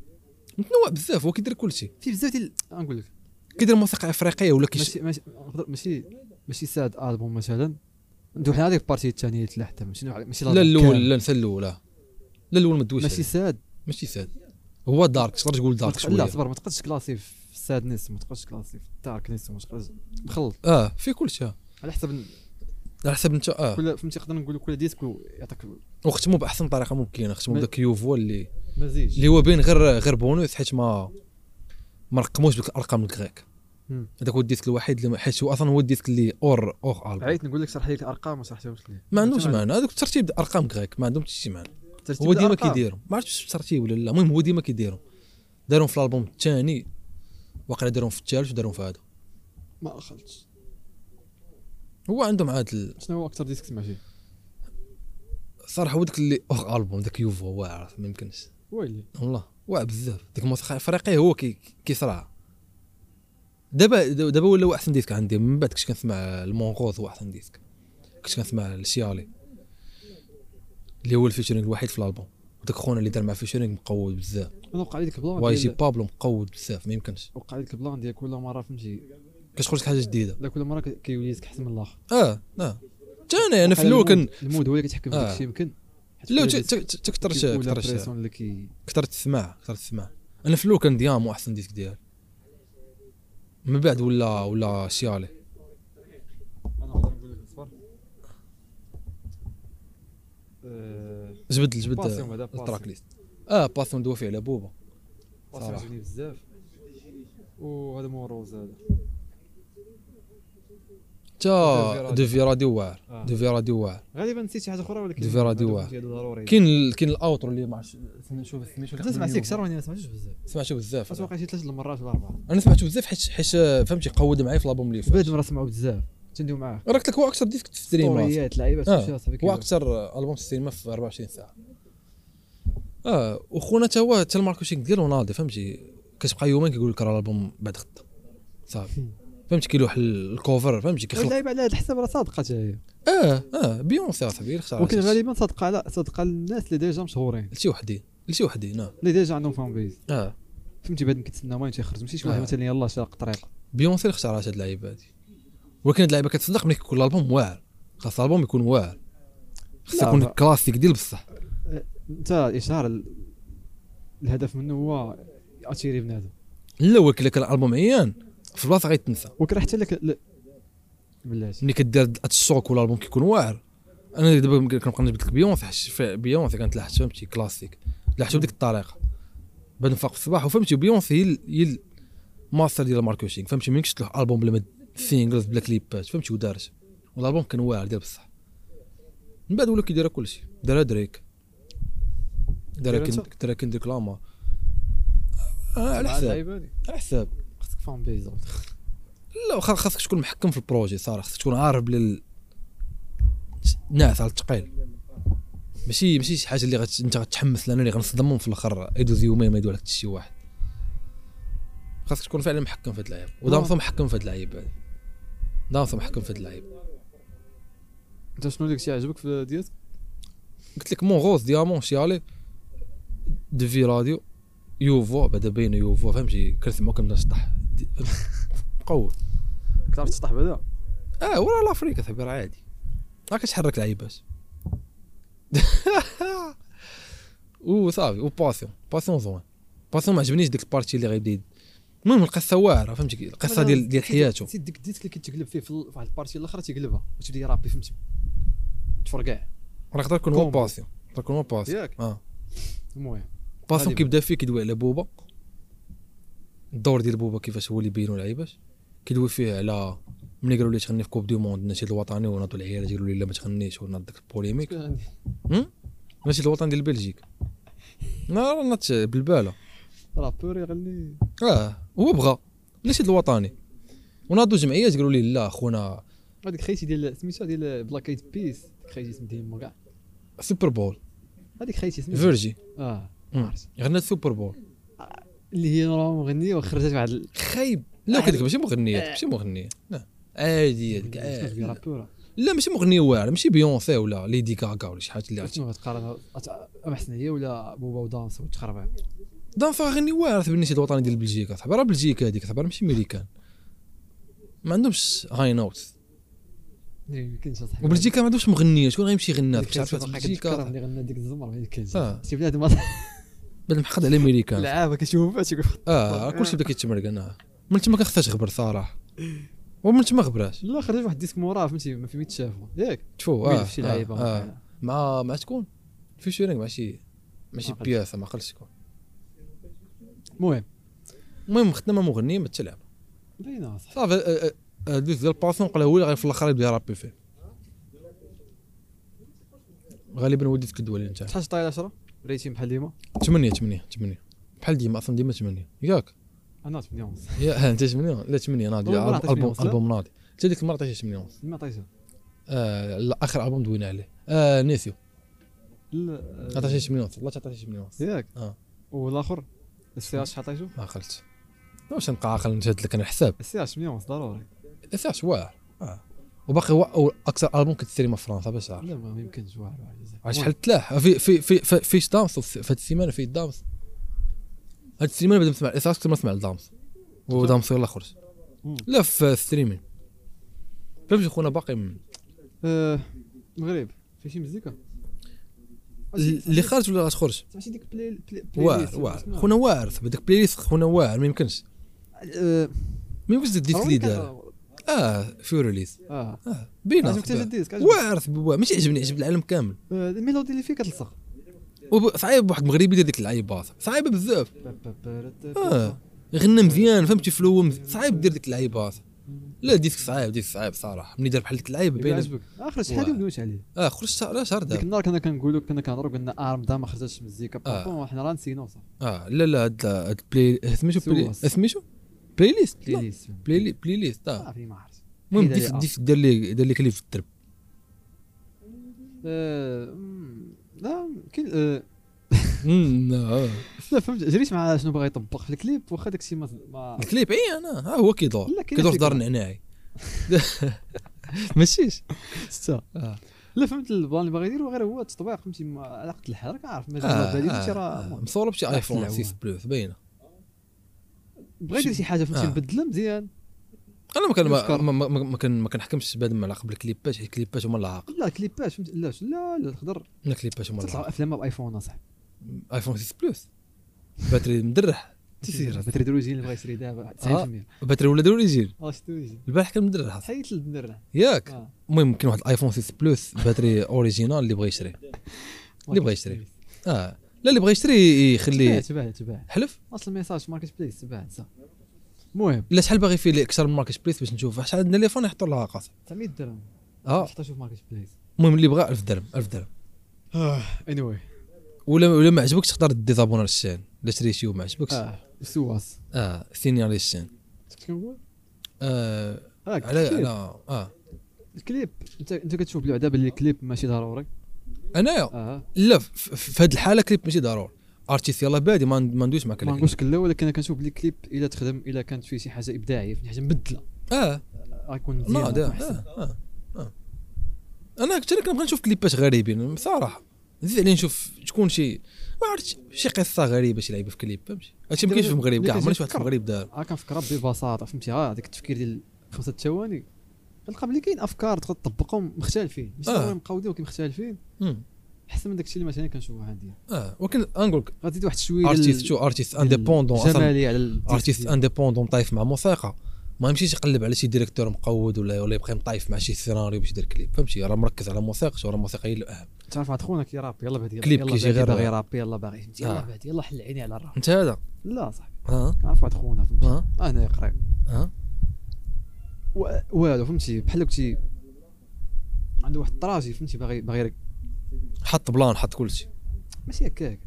S2: متنوع بزاف هو كيدير كلشي
S1: في بزاف ديال غنقول لك
S2: كيدير موسيقى افريقيه ولا كيش
S1: ماشي ماشي نقدر- ماشي ماشي ساد البوم مثلا ندوي حنا هذيك البارتي الثانيه اللي حتى ماشي نوع- ماشي
S2: لا
S1: الألبوم
S2: الاول
S1: كامل.
S2: لا نسى الاول آه. لا الاول ما دويش
S1: ماشي
S2: ماشي
S1: ساد
S2: ماشي ساد هو دارك تقدر تقول
S1: ما
S2: دارك
S1: تق- لا
S2: شويه
S1: صبر ما تقدرش كلاسي في سادنس ما تقدرش كلاسي في داركنس ما تقدرش مخلط
S2: اه في كلشي آه.
S1: على حسب
S2: على حسب انت اه
S1: كل فهمتي نقدر نقول كل ديسك يعطيك
S2: وختموا باحسن طريقه ممكنه ختموا
S1: ما-
S2: بداك يوفو اللي
S1: مزيج
S2: اللي هو بين غير غير بونوس حيت ما ما رقموش بالارقام الكريك
S1: مم.
S2: هذاك هو الديسك الوحيد اللي ما- حيت هو اصلا هو الديسك اللي اور اور البوم
S1: عييت نقول لك شرح لي الارقام ما شرحتهمش لي
S2: ما عندهمش معنى هذوك ترتيب ارقام غريك ما عندهم حتى شي معنى هو ديما كيديرهم ما عرفتش واش ترتيب ولا لا المهم هو ديما كيديرهم دارهم في الالبوم الثاني واقيلا دارهم في الثالث ودارهم في هذا
S1: ما اخلتش
S2: هو عندهم عاد ال-
S1: شنو هو اكثر ديسك تسمع فيه
S2: صراحه هو داك اللي اور البوم داك يوفو واعر ما يمكنش
S1: ويلي
S2: والله واعر بزاف ديك الموسيقى الافريقيه هو كي كيصرع دابا دابا ولا هو احسن ديسك عندي من بعد كنت كنسمع المونغوز هو احسن ديسك كنت كنسمع الشيالي اللي هو الفيتشرينغ الوحيد في الالبوم وداك خونا اللي دار مع فيتشرينغ مقود بزاف
S1: انا وقع لي ديك البلان
S2: واي جي
S1: ديال
S2: بابلو مقود بزاف ما يمكنش
S1: وقع لي ديك البلان ديال كل مره فهمتي
S2: كتخرج حاجه جديده
S1: لا كل مره ك- كيولي ديسك احسن من الاخر
S2: اه اه انا انا في الاول كان
S1: المود هو اللي كيتحكم في
S2: آه.
S1: داك الشيء يمكن حيت
S2: لا
S1: كل
S2: ت-
S1: ديسك
S2: ت- ت- تكثرش
S1: كيكون لا
S2: تكثرش
S1: بريسون اللي كي
S2: كثرت السماع كثرت السماع انا في الاول كان ديامو احسن ديسك ديالي من بعد ولا ولا شيالي
S1: انا غادي نقول لك صبر آه،
S2: جبد جبد
S1: باسيوم هذا
S2: التراك
S1: باسيوم
S2: ليست اه باسون دوافي على بوبا
S1: باسيوم
S2: صراحة.
S1: عجبني بزاف وهذا موروز هذا
S2: تا دوفي راديو واعر
S1: آه.
S2: دوفي راديو واعر
S1: غالبا نسيت شي حاجه اخرى ولكن
S2: ديفيرا
S1: هادو
S2: ديوا.
S1: فهمتي هادو ضروري
S2: كاين ال- كاين الاوترو اللي ما عرفتش شوف سميتو
S1: كنت سمعت فيه اكثر وانا ما سمعتوش بزاف
S2: سمعته بزاف
S1: اتوقع شي ثلاث المرات ولا اربعه
S2: انا سمعته بزاف حيت حيت آه، فهمتي قود معايا في الالبوم اللي فات
S1: بعد مرة سمعوا بزاف تنديو معاه
S2: راه قلت لك هو اكثر ديسك في الستريم
S1: ستوريات لعيبات
S2: آه،
S1: كلشي صافي
S2: هو
S1: كيدوز.
S2: اكثر البوم ستريم في 24 ساعه اه وخونا تا هو تا الماركتينغ ديالو ناضي فهمتي كتبقى يومين كيقول لك راه الالبوم بعد غدا صافي فهمتي كيلوح ال- الكوفر فهمتي
S1: هاد
S2: كيخلق
S1: اللعيبه على هذا الحساب راه صادقه تا هي
S2: اه اه بيونسي اصاحبي اختار
S1: ولكن غالبا صادقه على صادقه للناس اللي ديجا مشهورين
S2: لشي وحدين لشي وحدين اه
S1: اللي ديجا عندهم فان بيز
S2: اه
S1: فهمتي بعد ما كيتسنى وين تيخرج ماشي شي واحد
S2: آه.
S1: مثلا يلاه شاق طريق
S2: بيونسي اللي اختارات هاد اللعيبه هادي ولكن هاد اللعيبه كتصدق ملي كيكون الالبوم واعر خاص الالبوم يكون واعر خاص
S1: لا،
S2: يكون
S1: ما-
S2: الكلاسيك ديال بصح
S1: انت الاشهار ال- الهدف منه هو اتيري بنادم
S2: لا ولكن الا كان الالبوم عيان في البلاصه غيتنسى
S1: ولكن حتى لك ل- بلاتي
S2: ملي كدير هاد الشوك ولا البوم كيكون واعر انا دابا ممكن كنبقى نجبد لك بيونسي حش- في- بيونسي كانت لحت فهمتي كلاسيك لحت بديك الطريقه بعد نفاق في الصباح وفهمتي بيونسي هي ال- هي الماستر ديال الماركتينغ فهمتي ملي كتشد له البوم بلا ما سينجلز بلا كليبات فهمتي ودارت والالبوم كان واعر ديال بصح من بعد ولا كيدير كلشي دارها دريك دارها
S1: دارها
S2: كن-
S1: أنت؟
S2: دارها كنديك لاما آه، على
S1: مع
S2: حساب
S1: اللعيبة هادي.
S2: على حساب
S1: خاصك فان بيز
S2: لا خا- خاصك تكون محكم في البروجي صراحه خاصك تكون عارف بلل ش- ناعس على الثقيل ماشي ماشي شي حاجه اللي غت... انت غتحمس لها انا اللي غنصدمهم في الاخر يدوز يومين ما يدوي لك حتى شي واحد خاصك تكون فعلا محكم في هاد اللعيب ودامسون محكم في هاد اللعيب هذا دامسون محكم في هاد اللعيب
S1: انت شنو داك الشيء عجبك في الديسك
S2: قلت لك مون غوز ديامون شيالي دفي راديو يوفو بعدا بين يوفو فهمتي كنسمعو كنبدا نشطح دي- مقوي
S1: كنت عرفت تطيح بعدا
S2: اه ورا لافريكا صاحبي راه عادي ما كتحرك لعيبات وصافي وباسيون باسيون زوين باسيون ما عجبنيش ديك البارتي اللي غيبدا يد- المهم القصه واعره فهمتي كي- القصه ديال ديال حياته
S1: نسيت ديك الديسك اللي كتقلب فيه في ال- واحد البارتي الاخرى تيقلبها وتبدا يرابي فهمتي تفرقع
S2: راه يقدر يكون هو
S1: كومبو.
S2: باسيون يقدر يكون هو باسيون
S1: ياك
S2: اه
S1: المهم
S2: باسيون
S1: غالباً.
S2: كيبدا فيه كيدوي على بوبا الدور ديال بوبا كيفاش هو اللي بينو لعيبات كيدوي فيه على ملي قالوا ليه تغني في كوب دو موند الناشد الوطني وناضوا العيال قالوا ليه لا ما تغنيش وناض ديك البوليميك ماشي الوطن ديال بلجيك لا راه نات بالباله
S1: رابور يغني
S2: اه هو بغى ناشد الوطني وناضوا جمعيات قالوا ليه لا خونا
S1: هذيك خيتي ديال سميتها ديال بلاك ايد بيس ديك خيتي سميتها ديما كاع
S2: سوبر بول
S1: هذيك خيتي سميتها
S2: فيرجي
S1: اه
S2: مم.
S1: عرفت.
S2: غنات سوبر بول
S1: اللي هي نورمال مغنيه وخرجت بعد ال-
S2: خايب لا كذلك ماشي مغنيه ماشي مغنيه لا عادي هذيك
S1: شنو
S2: عادي.
S1: رابور
S2: لا ماشي مغنيه واعره ماشي بيونسي ولا ليدي كاكا ولا شي حاجه اللي عرفتي
S1: شنو غتقارن أت- ام حسن هي ولا بوبا ودانس وتخربع
S2: دانسا غني واعر في الناشد الوطني ديال بلجيكا صاحبي راه بلجيكا هذيك صاحبي راه ماشي ميريكان ما عندهمش هاي نوت
S1: ما يمكنش اصاحبي
S2: وبلجيكا ما عندهمش مغنيه شكون غيمشي يغني
S1: ديك
S2: في
S1: خيتي باقا كتذكرها
S2: بلجيكا
S1: ملي غنى ديك الزمر ما يمكنش
S2: آه.
S1: شي بنادم
S2: بعد محقد على ميريكان
S1: لعابه كتشوفها تيقول
S2: اه راه كلشي بدا كيتمرقن آه. من تما كنخسرش غبر صراحه ومن تما غبراش
S1: لا خرج واحد الديسك موراه فهمتي ما فيهم يتشافوا ياك
S2: تشوف
S1: ميل
S2: اه,
S1: في شي
S2: آه,
S1: لعيبه
S2: آه, مع مع شكون في شيرينغ مع شي ماشي
S1: ما عقلتش.
S2: بياسه ما عقلتش شكون
S1: المهم
S2: المهم خدنا مع مغنيه ما تلعب
S1: باينه صح
S2: صافي آه، آه، آه، دوز ديال الباسون قال هو اللي غير في الاخر يبدا يرابي فيه غالبا وديت كدوالي انت
S1: شحال طايل 10 ريتي بحال ديما
S2: 8 8 8 بحال ديما اصلا ديما 8 ياك
S1: انا 8 ونص
S2: يا ها، انت 8 لا 8 ناضي
S1: أول مرة عطيت
S2: البوم
S1: 8 لا؟
S2: البوم ناضي حتى ديك المره عطيتها 8 ونص
S1: ما عطيتها
S2: آه لا، اخر البوم دوينا عليه آه نسيو
S1: ال-
S2: عطيتها 8 ونص والله عطيتها 8 ونص
S1: ياك
S2: آه.
S1: والاخر السي اش عطيتو
S2: ما عقلتش واش نبقى عاقل نشهد لك انا الحساب
S1: السي اش 8 ونص ضروري
S2: الاساس واعر آه. وباقي هو أول اكثر البوم كتسيري فلانسا باش عارف
S1: لا ما ما يمكنش واعر واعر بزاف.
S2: عاد شحال تلاح في في في في فيش دامس وفي- في هاد السيمانه في دامس هاد السيمانه بدا نسمع الاساس كنت ما نسمع لدامس ودامس يلاه خرج
S1: مم.
S2: لا في ستريمين فهمتي خونا باقي م-
S1: آه، المغرب في شي مزيكا
S2: اللي خارج ولا غتخرج
S1: ماشي ديك بلاي بلاي بلاي ليست ولا
S2: واعر واعر
S1: اسمها.
S2: خونا واعر بداك بلاي ليست خونا واعر ما يمكنش
S1: آه،
S2: ما يمكنش ديك
S1: ضروري
S2: اللي
S1: كان-
S2: دار اه في ريليز
S1: اه
S2: بينا
S1: عجبك تجديد
S2: واعر ماشي عجبني عجب العالم كامل
S1: آه، الميلودي اللي فيه كتلصق
S2: وب- صعيب واحد مغربي يدير ديك اللعيبه صعيبه بزاف آه. غنى مزيان فهمتي فلو مز... صعيب دير ديك اللعيبه لا ديسك صعيب ديسك صعيب صراحه ملي دار بحال ديك اللعيبه
S1: يبقى
S2: باين
S1: عجبك اخر شحال هادي
S2: واعر.
S1: ودويش عليه
S2: اه خرج شهر لا شهر
S1: ديك
S2: دابا
S1: النهار كنا كنقولوا كنا كنهضروا قلنا اه رمضان ما خرجتش مزيكا
S2: آه.
S1: بابا وحنا راه نسيناو صافي
S2: اه لا لا هاد هاد بلاي سميتو بلاي
S1: سواس.
S2: سميتو بلاي ليست
S1: بلاي
S2: لا، آه.
S1: ليست
S2: بلاي لي- بلاي ليست اه
S1: صافي ما عرفت
S2: المهم
S1: حيد
S2: ديف
S1: عليه آه.
S2: ديف دار لي دار لي كليب في الدرب
S1: آه، مم، لا كاين آه،
S2: مم، آه.
S1: لا فهمت جريت مع شنو باغي يطبق في الكليب واخا داكشي ما ما
S2: الكليب اي انا ها هو كيدور
S1: لا، كاينة
S2: كيدور في دار
S1: فكرة.
S2: النعناعي ماشيش
S1: ستا
S2: آه.
S1: لا فهمت البلان اللي باغي يدير هو غير هو التطبيق فهمتي ما- على قد الحركه عارف ما
S2: آه،
S1: جا بالي
S2: آه،
S1: فهمتي
S2: آه.
S1: راه
S2: مصورب شي
S1: لا،
S2: ايفون
S1: تلعبوها.
S2: 6 بلوس باينه
S1: بغا يدير شي حاجه فهمتي
S2: آه.
S1: مبدله مزيان
S2: انا ما كان ما
S1: يذكر.
S2: ما ما- ما كان ما كنحكمش بادم على قبل الكليبات حيت الكليبات هما العاق
S1: لا كليباش فهمت لا لا لا تقدر
S2: لا الكليبات هما العاق
S1: تطلع افلام بايفون اصاحبي
S2: ايفون 6 بلس باتري مدرح
S1: تيسير باتري دروجين اللي بغا يشري
S2: آه.
S1: دابا 90%
S2: باتري ولا دور يجي
S1: اه شتو يجي
S2: البارح كان مدرح
S1: حيت الدرع
S2: ياك
S1: آه.
S2: المهم كاين واحد الايفون 6 بلس باتري اوريجينال اللي بغى يشري اللي بغا يشتري. اه لا اللي بغى يشري
S1: تباع
S2: يخليه
S1: تباع تباع
S2: حلف
S1: اصلا ميساج ماركت بليس تباع انسى المهم
S2: لا شحال باغي فيه اللي اكثر من ماركت بليس باش نشوف شحال عندنا ليفون يحطوا لها قاص
S1: 900 درهم
S2: اه
S1: حطها شوف ماركت بليس
S2: المهم اللي بغى 1000 درهم 1000 درهم آه.
S1: اني واي
S2: ولا ولا ما عجبكش تقدر ديزابونر الشين لا شري شي وما عجبكش اه,
S1: اه سواس
S2: آه. سينيالي الشين
S1: شفت كنقول
S2: آه.
S1: اه
S2: على
S1: الكليب.
S2: على اه
S1: الكليب انت انت كتشوف بلي دابا اللي الكليب ماشي ضروري
S2: انايا
S1: اه
S2: لا ف- ف- في هذه الحاله كليب ماشي ضروري ارتيست يلاه بادي ما ما ندويش معك
S1: ما
S2: على
S1: نقولش كلا ولكن انا كنشوف بلي كليب الا تخدم الا كانت فيه شي حاجه ابداعيه فيه حاجه مبدله
S2: كليب. اه
S1: غيكون مزيان
S2: ناضي آه.
S1: غيكون أحسن.
S2: آه. آه. انا اكثر كنبغي نشوف كليبات غريبين بصراحه زيد علي نشوف تكون شي ما عرفتش شي قصه غريبه شي لعيبه في كليب فهمتي هادشي ما كاينش في المغرب كاع عمرني شفت واحد في المغرب دار
S1: ها كنفكرها ببساطه فهمتي ها هذاك التفكير ديال خمسه ثواني كنلقى بلي كاين افكار تقدر تطبقهم مختلفين ماشي
S2: آه.
S1: ضروري مقاودين ولكن مختلفين
S2: مم.
S1: احسن من داك الشيء اللي مثلا كنشوفوه عندي
S2: اه ولكن نقولك
S1: غتزيد واحد شويه
S2: ارتيست شو ارتيست انديبوندون اصلا
S1: جمالي على ال-
S2: ارتيست انديبوندون طايف مع موسيقى ما يمشيش يقلب على شي ديريكتور مقود ولا ولا يبقى مطايف مع شي سيناريو باش يدير كليب فهمتي راه مركز على موسيقى راه الموسيقى هي الاهم
S1: تعرف واحد خونا كيرابي يلا بعد يلا-
S2: كليب
S1: يلا
S2: كيجي
S1: بعد
S2: غير
S1: باغي
S2: راب.
S1: يرابي يلا باغي فهمتي يلا
S2: آه.
S1: بعد يلا حل عيني على الراب
S2: انت هذا
S1: لا صاحبي
S2: اه
S1: كنعرف واحد خونا فهمتي
S2: اه
S1: انا قريب
S2: اه
S1: و- والو فهمتي بحال كنتي عنده واحد الطراجي فهمتي باغي باغي يرك-
S2: حط بلان حط كلشي
S1: ماشي هكاك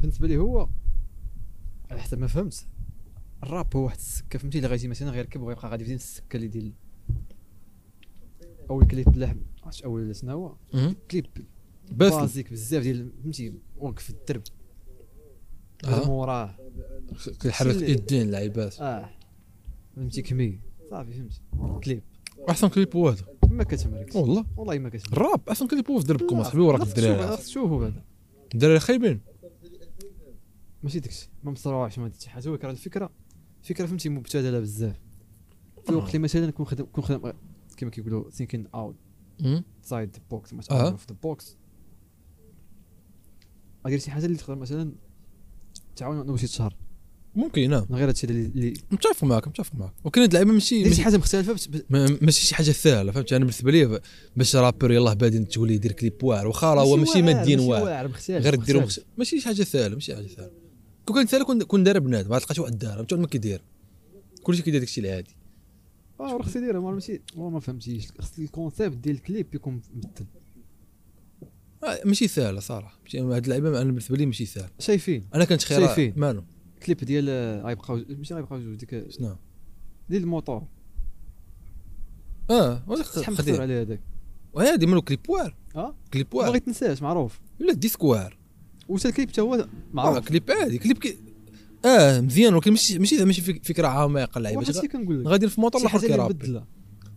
S1: بالنسبه لي هو على حسب ما فهمت الراب هو واحد السكه فهمتي اللي غادي مثلا غيركب وغيبقى غادي في ديك السكه اللي ديال اول كليب لا عرفت اول شنو هو
S2: مهم.
S1: كليب
S2: بس
S1: بازيك بزاف ديال فهمتي وقف في الدرب
S2: آه.
S1: من موراه
S2: كيحرك
S1: اللي-
S2: يدين لعيبات
S1: اه فهمتي كمي صافي فهمتي كليب
S2: احسن كليب هو هذا
S1: ما كتمركش
S2: والله
S1: والله ما كتمركش
S2: الراب احسن كليب هو في دربكم اصاحبي وراك
S1: خاصك تشوف-
S2: الدراري
S1: خاصك تشوفوا بعدا
S2: الدراري خايبين
S1: ماشي داكشي ما مصروعش ما درتش حاجه ولكن راه الفكره فكره فهمتي مبتذله بزاف في
S2: آه.
S1: الوقت اللي مثلا كون خدم كون خدم كما كيقولوا ثينكين اوت
S2: مم.
S1: سايد ذا بوكس مات
S2: أها.
S1: اوت اوف ذا بوكس غادير شي حاجه اللي تقدر مثلا تعاون باش يتشهر
S2: ممكن نعم
S1: من غير هادشي اللي- اللي
S2: متفق معاك متفق معاك ولكن هاد اللعيبه ماشي
S1: دير شي
S2: ماشي-
S1: حاجه مختلفه بس- بس-
S2: ما- ماشي شي حاجه سهله فهمت انا بالنسبه لي باش رابر يلاه بادي تولي يدير كليب واعر واخا راه هو ماشي ماديا
S1: ماشي
S2: واعر
S1: واعر مختلف
S2: غير ديرو
S1: مختلف.
S2: ماشي شي حاجه سهله ماشي حاجه سهله كون كانت سهله كون كون دار بنادم عاد لقيت واحد دار فهمت ما كيدير كلشي كيدير داكشي العادي
S1: اه راه خصني نديرها ما ماشي والله ما فهمتيش خص الكونسيبت ديال الكليب يكون مبدل
S2: آه، ماشي ساهله صراحه ماشي- هاد اللعيبه انا بالنسبه لي ماشي ساهل
S1: شايفين
S2: انا كنت خير
S1: شايفين.
S2: مالو
S1: الكليب ديال آه، غيبقاو ماشي غيبقاو جوج ديك آه،
S2: شنو
S1: ديال الموطور
S2: اه هذاك
S1: شحال
S2: خديها.
S1: مخسر عليه هذاك
S2: وهادي مالو كليبوار
S1: اه ما
S2: كليبوار
S1: غيتنساش معروف
S2: ولا ديسكوار
S1: وتا الكليب حتى هو
S2: اه
S1: معروف
S2: كليب عادي كليب كي... اه مزيان ولكن ماشي ماشي زعما ماشي فك- فكره عميقه اللعيبه
S1: واحد
S2: غا-
S1: الشيء كنقول لك
S2: غادي في موطور
S1: شي
S2: الاخر
S1: حاجه اللي
S2: كيرابي
S1: مبدله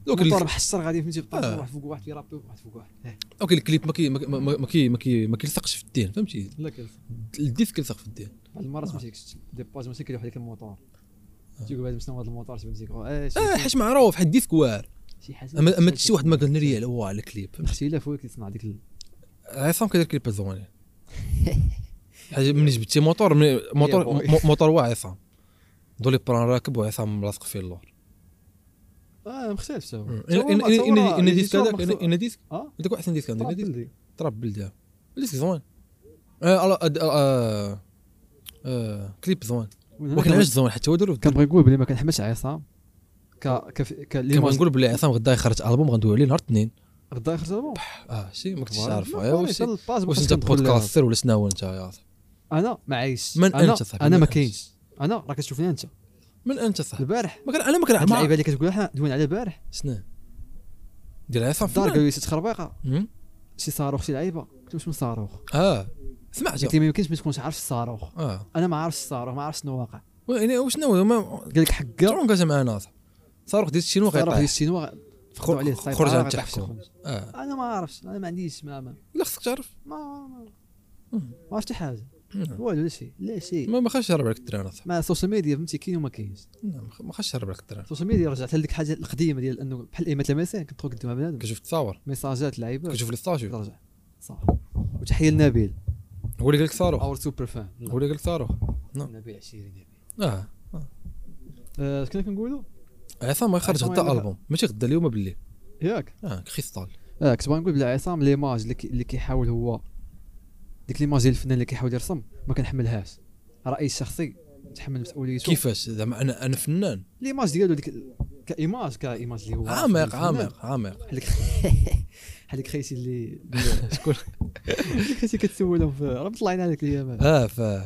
S2: دوك
S1: الموطور
S2: ال-
S1: محشر غادي فهمتي
S2: آه.
S1: بالطرف واحد فوق واحد كيرابي واحد فوق واحد إيه.
S2: دوك الكليب ما كي ما كي- ما- ما- ما كي ما كي ما كيلصقش في الدين فهمتي
S1: لا كيلصق
S2: الديسك كيلصق في الدين
S1: بعض المرات
S2: آه.
S1: ماشي كشت دي باج ماشي كيلوح ديك الموطور تيقول بعد شنو هذا الموطور تبان ديك اه شي-
S2: اه حاش معروف حد ديسكوار
S1: شي حاجه
S2: اما اما شي واحد ما قال لي على هو على الكليب
S1: الاختلاف هو اللي كيصنع ديك ال-
S2: عصام كيدير كليب زوين حاجه ملي جبتي موتور ملي موتور
S1: يا boy.
S2: مو- موتور هو عصام دولي بران راكب وعصام ملاصق فيه اللور
S1: اه مختلف تا هو
S2: ان
S1: تا هو
S2: ان
S1: ما- تا هو
S2: ان
S1: راه
S2: ان ديسك
S1: الإيديتور
S2: هذاك
S1: مخصو-
S2: ان ديسك
S1: اه
S2: هذاك احسن ديسك عندك
S1: طراب
S2: إن ديسك
S1: بلدي.
S2: طراب بلدها ديسك زوين اه ألا- أد- آه، آه، كليب زوين
S1: ومن هنا
S2: ولكن
S1: كان-
S2: علاش زوين حتى هو دارو
S1: كنبغي نقول بلي ما كنحملش عصام ك ك ك
S2: كنبغي
S1: ليماج
S2: نقول بلي عصام غدا يخرج البوم غندوي عليه نهار الاثنين
S1: غدا يخرج البوم
S2: اه شي ما كنتش
S1: فوالا.
S2: عارف
S1: ما
S2: آه،
S1: فوالا،
S2: واش
S1: حتى الباج ما
S2: واش
S1: بقاش
S2: انت
S1: كندخل لها.
S2: بودكاستر ولا شنو هو انت يا عاصم
S1: انا ما عايش
S2: من
S1: انا
S2: أنت صاحبي؟
S1: انا
S2: من
S1: ما
S2: أنت؟
S1: كاينش انا راه كتشوفني انت
S2: من انت صح
S1: البارح
S2: ما كان انا ما
S1: هاد اللعيبه
S2: كنعرف
S1: اللي كتقول حنا دوينا عليها البارح
S2: شنو دير عصام
S1: الدار
S2: فلان
S1: قالوا لي شي تخربيقه
S2: مم؟
S1: شي صاروخ شي لعيبه قلت لهم شنو صاروخ
S2: اه سمعت
S1: قلت لي ما يمكنش ما تكونش عارف الصاروخ
S2: اه
S1: انا ما عارفش الصاروخ ما عارف شنو واقع
S2: يعني وشنو ما
S1: قال لك حكا
S2: تعون كاجا معنا صح صاروخ ديال الشينو
S1: صاروخ
S2: غيطيح
S1: ديال الشينوا فخروا عليه طيب، السيطره
S2: خرج عن
S1: غيطيح في
S2: التحكم
S1: الخنج.
S2: اه
S1: انا ما عارفش انا ما عنديش ما ما
S2: لا خصك تعرف
S1: ما ما-
S2: مم.
S1: ما عرفت حتى حاجه
S2: مم.
S1: والو لا شيء لا شيء
S2: ما ما خاش يهرب عليك الدراري صح
S1: ما السوشيال ميديا فهمتي كاين وما كاينش
S2: ما خاش يهرب عليك الدراري
S1: السوشيال ميديا رجعت لديك الحاجه القديمه ديال انه بحال ايمات لمسان كتدخل قدام بنادم
S2: كنشوف التصاور
S1: ميساجات لعيبه
S2: كنشوف لي ستاشيو
S1: رجع صافي وتحيه لنبيل
S2: هو اللي قال لك صاروخ
S1: اور سوبر فان
S2: هو اللي قال لك صاروخ
S1: نبيل عشيري نبيل
S2: اه
S1: آه، شكون كنقولوا
S2: عصام ما يخرج
S1: عصام
S2: غدا
S1: يلا.
S2: البوم ماشي غدا اليوم بالليل
S1: ياك
S2: اه كريستال
S1: اه كنت باغي نقول بلا عصام ليماج اللي, كي- اللي كيحاول هو ديك ليماج ديال الفنان اللي كيحاول يرسم ما كنحملهاش رايي الشخصي تحمل مسؤوليته
S2: كيفاش زعما انا انا فنان
S1: ليماج ديالو ديك كايماج كايماج اللي هو
S2: عميق
S1: الفنان.
S2: عميق عميق
S1: بحال ديك بحال ديك خيتي اللي
S2: شكون
S1: ديك خيتي كتسولهم في ربط الله يعين عليك الايام
S2: اه ف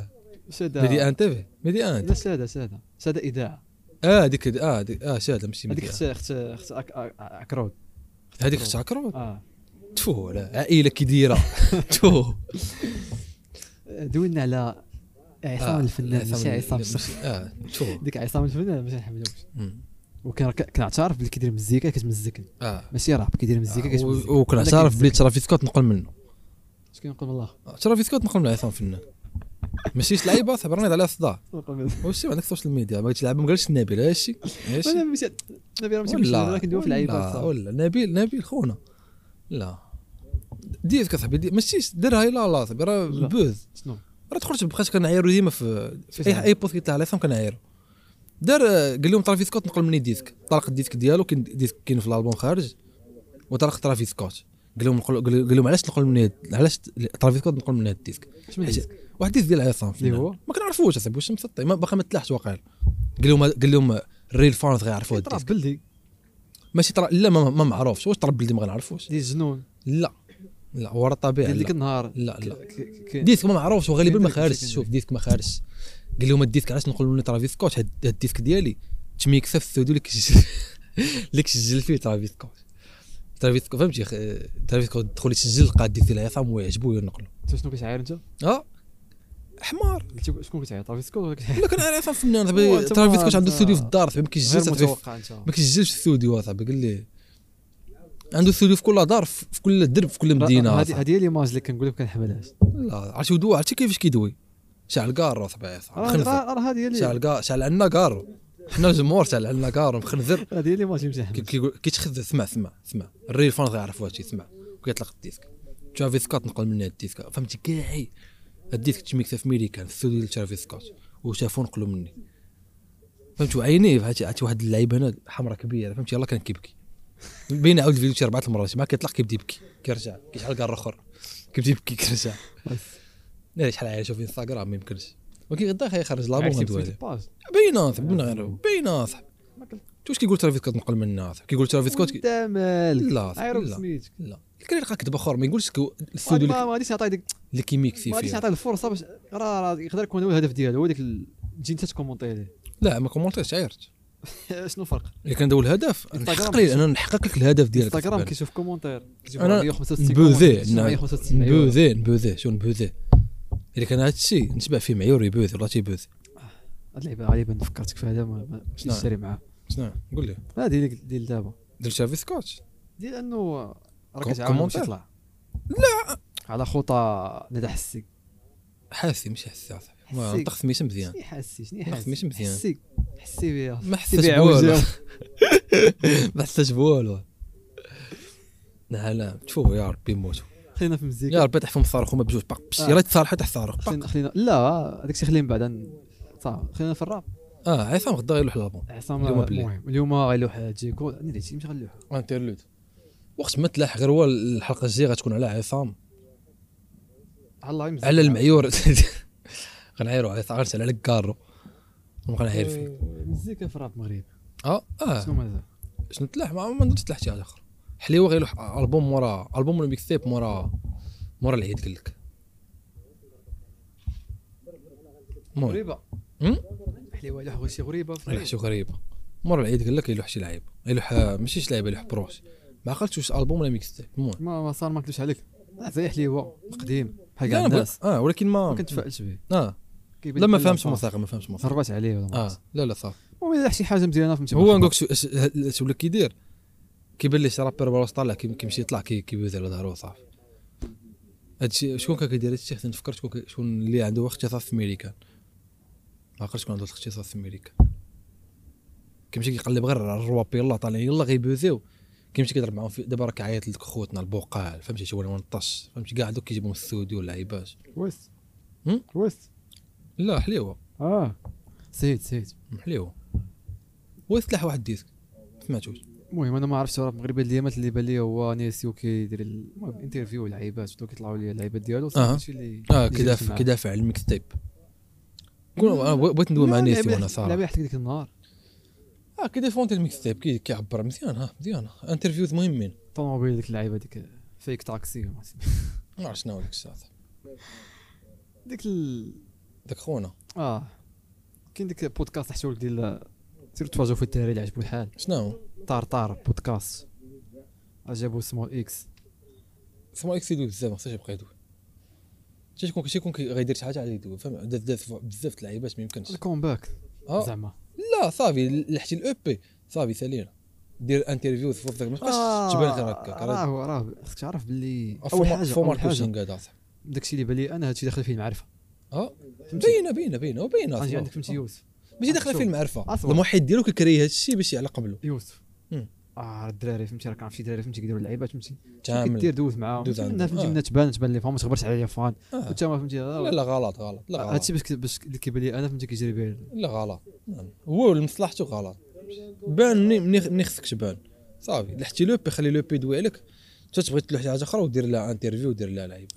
S1: ساده
S2: ميدي ان تي في ميدي ان
S1: لا ساده ساده ساده اذاعه
S2: اه ديك اه ديك اه شاده ماشي
S1: هذيك
S2: ميدي آن.
S1: اخت اخت اخت أك- أ- عكرود
S2: هذيك اختي عكرو
S1: اه
S2: تفو لا عائله كي دايره تفو
S1: آه، دوينا على عصام
S2: آه،
S1: الفنان ماشي عصام الشخص
S2: ماشي- اه تفو
S1: ديك عصام الفنان ما نحملوش
S2: مم.
S1: وكان كنعترف بلي كيدير مزيكا كتمزكني
S2: اه
S1: ماشي راب كيدير مزيكا كتمزكني
S2: و- وكنت
S1: أنا
S2: عارف
S1: كنت-
S2: بلي ترافيس سكوت نقل منه
S1: اش كنقول بالله
S2: ترافيس سكوت نقل من عصام فنان ماشي شي لعيبه صبرني على الصداع
S1: نقول بالله.
S2: واش عندك السوشيال ميديا بغيتي تلعب ما قالش نبيل هادشي
S1: انا
S2: هادشي
S1: ماشي نبي راه ماشي مشكل انا كندوي في
S2: ولا-
S1: العيبه
S2: ولا نبيل نبيل خونا لا ديتك اصاحبي دي ماشي ديرها يلا لا صاحبي راه
S1: لا.
S2: بوز
S1: شنو
S2: راه تخرج بقيت كنعايرو ديما في في
S1: صحيح.
S2: اي اي بوست كيطلع على فهم كنعايرو دار آه، قال لهم ترافيس سكوت نقل مني ديسك طلق الديسك ديالو كاين ديسك كاين في الالبوم خارج وطلق ترافيس سكوت قال لهم نقل- قال قال لهم علاش تنقل مني هاد- علاش ت- ترافيس سكوت نقل مني هاد الديسك
S1: شنو
S2: حيت-
S1: ديسك؟
S2: واحد الديسك ديال عصام
S1: اللي هو؟
S2: ما كنعرفوش اصاحبي واش مسطي ما- باقي ما تلاحش واقيلا قال لهم قال لهم الريل فانز غيعرفوا هاد
S1: طرف
S2: الديسك
S1: بلدي
S2: ماشي ترا لا ما, ما معروفش واش ترا بلدي ما غنعرفوش
S1: ديال الجنون
S2: لا لا هو راه طبيعي
S1: ديال
S2: لا.
S1: ديك النهار
S2: لا، لا.
S1: ك- ك- ك-
S2: ديسك ما معروفش وغالبا ما
S1: كاين ديك
S2: خارجش
S1: الشكل
S2: شوف ديسك ما خارجش قال لهم الديسك علاش نقولوا لنا ترافيس سكوت هاد هاد الديسك ديالي تميكسه في السودو اللي كسجل اللي كسجل فيه ترافيس سكوت ترافيس سكوت فهمتي خ- ترافيس سكوت دخل يسجل لقى الديسك ديال عصام ويعجبو ينقلو
S1: انت شنو كتعاير انت؟
S2: اه حمار
S1: قلت شكون كتعاير طرف سكوت ولا كتعاير
S2: الا كان عارف عصام فنان
S1: هو
S2: صاحبي
S1: أنت
S2: ترافيس
S1: ما-
S2: سكوت عنده
S1: أنت
S2: استوديو في الدار صاحبي ما
S1: غير
S2: كيسجلش صاحبي
S1: متوقع انت
S2: ما كيسجلش في الاستوديو صاحبي قال لي عنده استوديو في كل دار في في كل درب في كل مدينه
S1: هذه هذه هي ليماج اللي كنقول لك ما كنحملهاش
S2: لا عرفتي ودو عرفتي كيفاش كيدوي شعل كار صاحبي عصام
S1: راه
S2: خنزر
S1: راه راه هذه هي اللي-
S2: شعل كار شعل عندنا كار حنا الجمهور شعل عندنا كار مخنزر
S1: هذه هي اللي ماشي مزيان
S2: كي- كيقول كيتخذ سمع سمع سمع الريل فانز غيعرف واش يسمع وكيطلق الديسك ترافيس سكوت نقل منها الديسك فهمتي كاع الديسك تميكسه في ميريكان السوديو ديال ترافيس سكوت وشافو نقلو مني فهمت وعينيه عرفتي عرفتي واحد اللعيبه هنا حمراء كبيره فهمتي يلاه كان كيبكي بين عاود الفيديو شي اربعه المرات ما كيطلق كيبدا يبكي كيرجع كيشحال كار اخر كيبدا يبكي كيرجع لا شحال عايشه في انستغرام ما يمكنش ولكن غدا خا يخرج لابو
S1: عرفتي
S2: غندوي
S1: بسيط
S2: عليه
S1: الباج
S2: باينه صاحبي من غير باينه صاحبي
S1: ما قلت
S2: انت واش كيقول ترافيس كوت نقل من الناس كيقول ترافيس كوت كي-
S1: انت مالك
S2: لا صاحبي،
S1: عيرو
S2: لا
S1: سميتك
S2: لا الكري لقى كذب اخر ما يقولش كو- السود
S1: ما
S2: اللي-
S1: ما غاديش نعطيه ديك
S2: اللي كيميكسي
S1: ما غاديش
S2: فيه
S1: نعطيه الفرصه باش راه راه يقدر يكون هو الهدف ديالو هو ديك ال- تجي انت تكومونتي ليه
S2: لا ما كومونتيش عيرت
S1: شنو الفرق؟
S2: الا كان هو الهدف
S1: انستغرام
S2: نحقق لي انا نحقق لك الهدف ديالك
S1: انستغرام كيشوف كومونتير كيشوف
S2: أنا
S1: 165
S2: نبوذيه
S1: كومونتير، كيشوف 165 أيوا.
S2: نبوذيه نبوذيه شو نبوذيه الا كان هذا الشيء نتبع فيه معيور يبوذي ولا تيبوذي
S1: هاد اللعيبه غالبا فكرتك في هذا ما- ما مش
S2: نعم.
S1: نشتري معاه
S2: شنو
S1: نعم.
S2: قول لي
S1: هذه ديال ديال دابا
S2: دير شافي سكوتش
S1: ديال انه راه كتعاون
S2: كوم-
S1: باش
S2: كومونتير؟
S1: يطلع لا على خطى ندى حسي
S2: حاسي مش حاسي عصافي ما
S1: حاسي.
S2: نطق سميتو مزيان
S1: شنو حاسي شنو
S2: ما
S1: حاسي
S2: خدمتش مزيان.
S1: حسي حسي بها
S2: ما
S1: حسي
S2: حسيتش
S1: بها
S2: بوالو.
S1: وجهها.
S2: ما حساش بوالو لا لا شوفوا يا ربي موتوا
S1: خلينا في المزيكا
S2: يا ربي تحفهم صاروخ هما بجوج باق بش
S1: آه.
S2: يا ريت صالحه تحت صاروخ
S1: خلينا
S2: باق
S1: خلينا لا هذاك الشيء خلينا من بعد صافي خلينا في الراب
S2: اه عصام غدا غيلوح الالبوم
S1: عصام
S2: اليوم
S1: اليوم
S2: بالليل.
S1: المهم اليوم غيلوح جيكو انا اللي مش غنلوح
S2: انترلود وقت ما تلاح غير هو الحلقه الجايه غتكون على عصام
S1: الله يمزح
S2: على المعيور غنعيرو على عرفت على الكارو غنعير فيه
S1: مزيكا في الراب مغرب
S2: اه اه
S1: شنو مازال
S2: شنو تلاح ما ما درت تلاح شي حاجه اخرى حليوه غير لوح- البوم مورا البوم ولا ميكس تيب مورا مورا العيد قال لك المهم
S1: غريبه
S2: أم؟
S1: حليوه لوح شي غريبه في
S2: يلوح شي غريبه مورا العيد قال لك يلوح شي لعيب يلوح ماشي شي لعيب يلوح بروش ما عقلتش واش البوم ولا ميكس تيب المهم
S1: ما ما صار ما كتبش عليك لا، زي حليوه قديم بحال
S2: لا
S1: كاع
S2: أنا بقول-
S1: الناس
S2: اه ولكن
S1: ما
S2: ما
S1: كنتفائلش به
S2: اه
S1: كيبان
S2: لا ما
S1: لك
S2: فهمش
S1: لا،
S2: الموسيقى ما فهمش الموسيقى
S1: هربات عليه ولا ما
S2: اه لا لا صافي
S1: المهم الا شي حاجه مزيانه فهمتي
S2: هو نقولك شو شو اللي كيدير كيبان لي شي رابير واش طالع كي- كيمشي يطلع كي- كيبوز على ظهره وصافي هادشي شكون كان كيدير هادشي حتى نفكر شكون كي- شكون اللي عنده اختصاص في امريكان ما عقلت شكون عنده الاختصاص في امريكان كيمشي كيقلب غير على الرواب يلا طالعين يلا غيبوزيو كيمشي كيضرب معاهم في- دابا راه كيعيط لك خوتنا البقال فهمتي شي ولا طش فهمتي كاع دوك كيجيبهم السوديو واللعيبات
S1: ويست
S2: هم؟
S1: ويست
S2: لا حليوه
S1: اه سيد سيد
S2: حليوه ويسلاح واحد ديسك سمعتوش
S1: المهم انا ما عرفتش راه مغربي الايامات اللي بان لي هو نيسيو كيدير ال- المهم انترفيو لعيبات شنو كيطلعوا لي اللعيبات ديالو صافي
S2: أها.
S1: هادشي اللي
S2: اه
S1: اللي جبت
S2: كيدافع
S1: معاه.
S2: كيدافع على الميكس تيب كون انا بغ- بغيت ندوي مع
S1: لا،
S2: نيسي
S1: لعبة-
S2: وانا
S1: لعبة
S2: صراحه
S1: حتى ديك النهار
S2: اه كيديفونتي الميكس تيب كي- كيعبر مزيان ها مزيان انترفيوز مهمين
S1: طوموبيل ديك اللعيبه ديك فيك تاكسي وما عرفت.
S2: ما عرفت شنو هو ديك الساعه
S1: ديك ال...
S2: داك خونا
S1: اه كاين ديك بودكاست حشولك ديال سير تفرجوا في الدراري اللي عجبو الحال
S2: شنو هو
S1: طار طار بودكاست جابو سمول اكس
S2: سمو اكس يدوي بزاف ما خصهاش يبقى يدوي شي شكون شي شكون كي- غيدير شي حاجه على يدوي فهم داز داز بزاف د اللعيبات ما يمكنش
S1: الكومباك
S2: اه
S1: زعما
S2: لا صافي لحتي الاو بي صافي سالينا دير انترفيو في وسطك ما
S1: آه،
S2: تبقاش تبان غير هكاك راه
S1: راه راه خصك تعرف باللي اول
S2: فورما-
S1: حاجه
S2: فورما
S1: اول حاجه
S2: كوتشينغ هذا صاحبي.
S1: داكشي اللي بالي انا هادشي داخل فيه المعرفه
S2: اه
S1: فهمتي؟
S2: باينه باينه باينه وباينه
S1: غنجي
S2: صراحة.
S1: عندك فهمتي يوسف
S2: ماشي داخله
S1: شوف.
S2: فيه المعرفه
S1: أصبر.
S2: الموحد ديالو كيكري هذا الشيء باش على قبله
S1: يوسف
S2: مم.
S1: اه راه الدراري فهمتي راه كان شي دراري فهمتي كيديروا اللعيبات فهمتي كدير
S2: كامل
S1: دوز معاهم
S2: دوز
S1: منها
S2: عندهم.
S1: فهمتي
S2: آه.
S1: منها تبان تبان لي فهم ما تغبرش عليا فان
S2: آه.
S1: وانت ما فهمتي آه،
S2: لا لا غلط غلط لا غلط
S1: هادشي باش باش اللي كيبان لي انا فهمتي كيجري به
S2: لا غلط نعم. هو لمصلحته غلط بان مني- مني مني خصك تبان صافي لحتي لو بي خلي لو بي يدوي عليك انت تبغي تلوح شي حاجه اخرى ودير لها انترفيو ودير لها لعيبه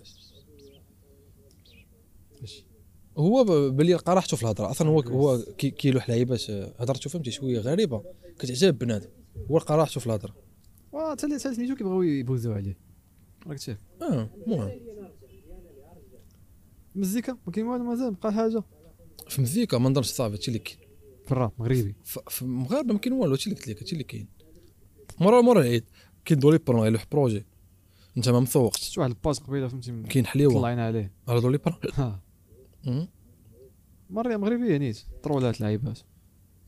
S2: هو ب- بلي لقى راحته في الهضره اصلا هو هو كي- كيلوح لعيبات آه، هضرته فهمتي شويه غريبه كتعجب بنادم هو لقى راحته في الهضره
S1: واه حتى حتى سميتو كيبغيو يبوزو عليه راك شايف
S2: اه المهم
S1: المزيكا ما كاين والو مازال بقى حاجه
S2: في المزيكا ما نظنش صافي هادشي اللي كاين
S1: في الراب مغربي
S2: ف- في المغاربه ما كاين والو هادشي اللي قلت لك هادشي اللي كاين مورا مورا العيد كاين دوليبر ما يلوح بروجي انت ما مسوقش
S1: شفت واحد الباج قبيله فهمتي م-
S2: كاين حليوه
S1: طلعنا عليه
S2: على دوليبر
S1: ها مرة مغربيه نيت طرولات لعيبات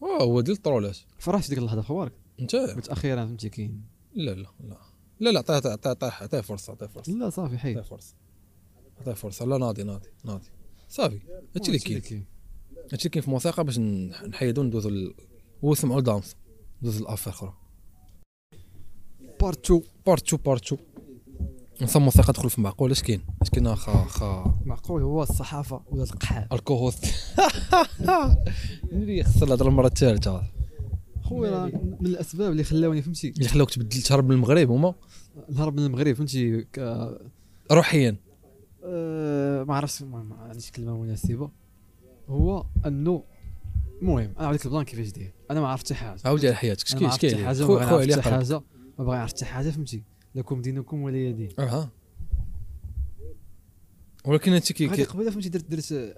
S2: واه هو ديال الطرولات
S1: فرحت ديك اللحظه خوارك
S2: انت
S1: قلت اخيرا فهمتي كاين
S2: لا لا لا لا لا عطيه عطيه عطيه عطيه فرصه عطيه فرصه
S1: لا صافي
S2: عطيه
S1: حيد
S2: فرصه عطيه فرصه لا ناضي ناضي ناضي صافي هادشي اللي كاين هادشي اللي كاين في الموسيقى باش نح- نحيدو ندوزو ال- ونسمعو دانس ندوزو لافير اخرى
S1: بارتو
S2: بارتو بارتو نصا موسيقى تدخل في معقول اش كاين اش كاين اخا اخا
S1: معقول هو الصحافه ولا القحاب
S2: الكوهوست نري خسر الهضره المره الثالثه
S1: خويا راه من الاسباب اللي خلاوني فهمتي
S2: اللي خلاوك تبدل تهرب من المغرب هما
S1: نهرب من المغرب فهمتي ك-
S2: روحيا
S1: آه، ما عرفتش المهم ما عنديش كلمه مناسبه هو انه المهم انا عاود لك البلان كيفاش داير انا ما عرفت حتى حاجه
S2: عاودي على حياتك
S1: انا ما
S2: شكي
S1: عرفت حتى
S2: شكي
S1: حاجه
S2: خو
S1: ما
S2: خو
S1: بغي
S2: عليا
S1: نعرف حتى
S2: قلب
S1: حاجه ما بغي نعرف حتى حاجه فهمتي لكم دينكم ولا دين
S2: اها ولكن هادشي كي
S1: هذه
S2: كي-
S1: قبيله فهمتي درت درت آه،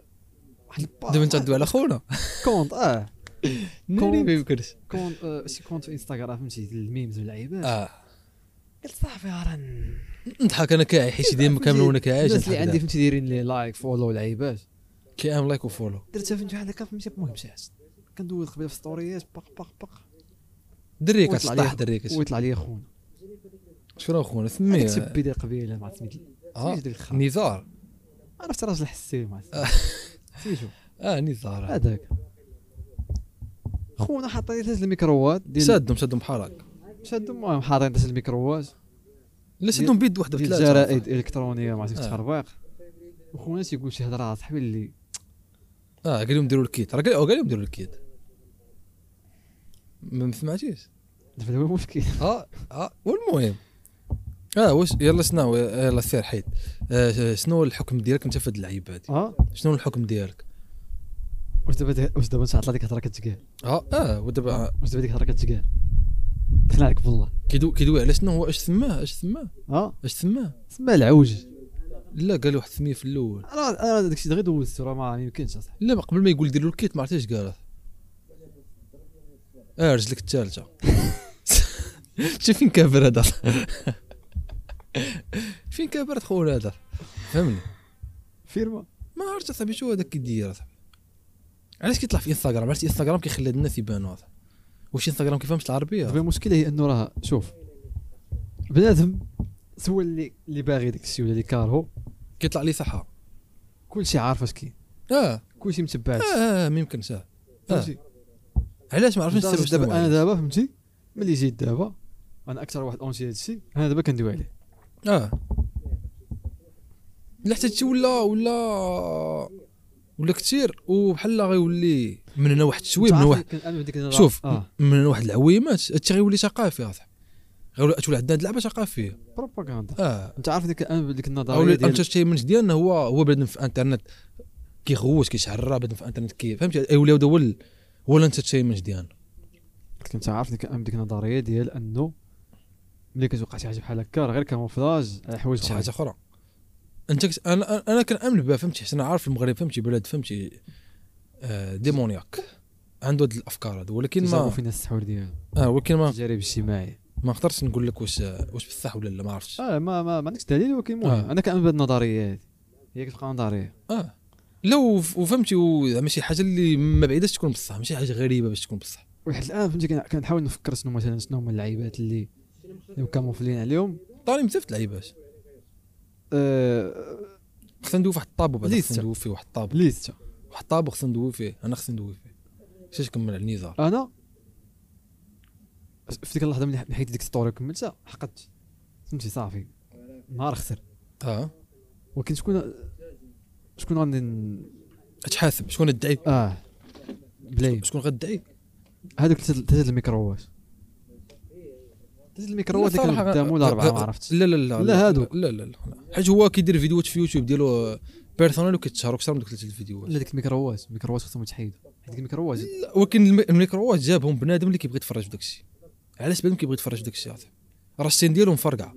S1: واحد الباغ-
S2: دابا انت على خونا
S1: كونت اه
S2: ناري ما يمكنش
S1: كونت آه، شي كونت في انستغرام فهمتي ديال الميمز واللعيبات
S2: اه
S1: قلت صافي راه ن-
S2: نضحك انا كاعي حيت ديما كامل وانا كاعي
S1: الناس اللي
S2: نضحك
S1: عندي
S2: دابا.
S1: فهمتي دايرين لي لايك فولو لعيبات
S2: كيعمل لايك وفولو
S1: درتها فهمتي واحد هكا فهمتي المهم شي حاجه كندوز قبيله في ستوريات باق باق باق
S2: دريك
S1: ويطلع
S2: كتطيح
S1: ليا-
S2: دريك
S1: ويطلع لي خونا
S2: شنو خونا سميه
S1: هذيك تبي ديال قبيله ما عرفت سميت
S2: آه،
S1: سميتو ديك الخا
S2: نزار
S1: عرفت راجل حسي ما
S2: آه.
S1: عرفت سميتو
S2: اه نزار
S1: هذاك خونا حاطين لي ثلاث الميكروات ديال
S2: شادهم شادهم بحال هكا
S1: شادو المهم حاطين ثلاث الميكروات
S2: لا شادهم بيد وحده
S1: ديال
S2: بثلاثه
S1: الجرائد الالكترونيه ما عرفتش
S2: آه.
S1: التخربيق وخونا تيقول شي هضره صاحبي اللي
S2: اه قال لهم ديروا الكيت راه قال أو قال لهم ديروا الكيت ما ما سمعتيش
S1: دابا هو مشكل
S2: اه اه والمهم اه واش يلا شنو يلا سير حيد آه شنو الحكم ديالك انت في هاد اللعيبه هادي
S1: اه
S2: شنو الحكم ديالك
S1: واش دابا واش دابا نتعطى ديك الهضره كتقال
S2: اه اه ودابا آه،
S1: واش دابا ديك الهضره كتقال دخل عليك بالله
S2: كيدو كيدوي على شنو هو اش سماه اش سماه
S1: اه
S2: اش سماه
S1: سما العوج
S2: لا قال واحد سميه في الاول
S1: انا انا داك الشيء غير دوزته راه ما يمكنش اصاحبي
S2: لا ما قبل ما يقول ديروا الكيت ما عرفتش قالت اه رجلك الثالثه شتي فين كابر هذا فين كابر خونا هذا فهمني
S1: فيرما
S2: ما عرفت اصاحبي شو هذاك كيدير اصاحبي علاش كيطلع في انستغرام عرفتي انستغرام كيخلي هاد الناس يبانوا اصاحبي واش انستغرام كيفهمش
S1: دابا
S2: العربيه
S1: المشكله هي انه راه شوف بنادم سوا اللي اللي باغي داك الشيء ولا اللي كارهو
S2: كيطلع لي صحه
S1: كلشي عارف اش كاين
S2: اه
S1: كلشي متبع
S2: اه, آه ما يمكنش اه
S1: فهمتي
S2: علاش ما عرفتش
S1: لدرجة
S2: السبب شنو
S1: دابا انا
S2: هو.
S1: دابا فهمتي ملي جيت دابا انا اكثر واحد اونتي هذا الشيء انا دابا كندوي عليه
S2: اه لا حتى تشي ولا ولا ولا كثير وبحال غيولي من هنا واحد الشوي من
S1: تعرف
S2: واحد
S1: كان أنا ديك الهضرة-
S2: شوف
S1: اه
S2: من هنا واحد العويمات هادشي غيولي ثقافي اصاحبي غيولي تولي عندنا هاد اللعبه ثقافيه
S1: بروباغندا
S2: اه
S1: انت عارف ديك أنا ديك
S2: او
S1: النظريه ديال
S2: الانترتينمنت ديالنا هو هو بنادم في الانترنت كيغوت كيشعر بنادم في الانترنت كي فهمتي اي ولا هذا هو ال- هو الانترتينمنت ديالنا
S1: قلت لك انت عارف ديك أنا ديك النظريه ديال انه ملي كتوقع شي حاجه بحال هكا راه غير كاموفلاج على حوايج
S2: شي
S1: أخرين.
S2: حاجه اخرى انت كت... انا انا كنامن بها فهمتي حيت انا عارف المغرب فهمتي بلاد فهمتي آه ديمونياك عنده هاد الافكار هادو ولكن
S1: جابوا
S2: ما
S1: فينا السحور ديالو
S2: آه ولكن ما
S1: التجارب الاجتماعيه
S2: ما نقدرش نقول لك واش واش بصح ولا لا ما عرفتش
S1: اه ما ما, ما عندكش دليل ولكن المهم
S2: آه.
S1: انا كنامن بهاد النظريه هذه هي كتبقى نظريه
S2: اه لا وف- وفهمتي و- زعما شي حاجه اللي ما بعيداش تكون بصح ماشي حاجه غريبه باش تكون بصح
S1: واحد الان فهمتي كن- كنحاول نفكر شنو مثلا شنو هما اللعيبات اللي اللي كاموفلين عليهم
S2: طاري بزاف د اللعيبات
S1: آه
S2: خصنا ندوي في واحد الطابو بعدا
S1: ليست.
S2: خصنا ندوي فيه واحد الطابو
S1: ليست
S2: واحد الطابو خصنا ندوي فيه انا خصني ندوي فيه باش كمل على النزار
S1: انا في ديك اللحظه ملي حيت ديك ستوري كملتها حقدت فهمتي صافي نهار خسر
S2: اه
S1: ولكن شكون شكون غادي ن-
S2: تحاسب شكون الدعي
S1: اه بلاي
S2: شكون غدعي
S1: هذوك ثلاثه الميكروات ثلاثه الميكروات اللي كانوا
S2: صراحة-
S1: قدامه ولا اربعه ما
S2: أه،
S1: عرفتش
S2: لا لا لا
S1: لا هادوك.
S2: لا لا لا حيت هو كيدير فيديوهات في يوتيوب ديالو بيرسونال وكيتشهر اكثر من دوك ثلاث الفيديوهات
S1: لا ديك الميكروات الميكروات خصهم يتحيدوا هاد ديك الميكروات
S2: لا، ولكن الم- الميكروات جابهم بنادم اللي كيبغي يتفرج في داك الشيء علاش بنادم كيبغي يتفرج في داك الشيء عاطي؟ راه السين ديالو مفرقع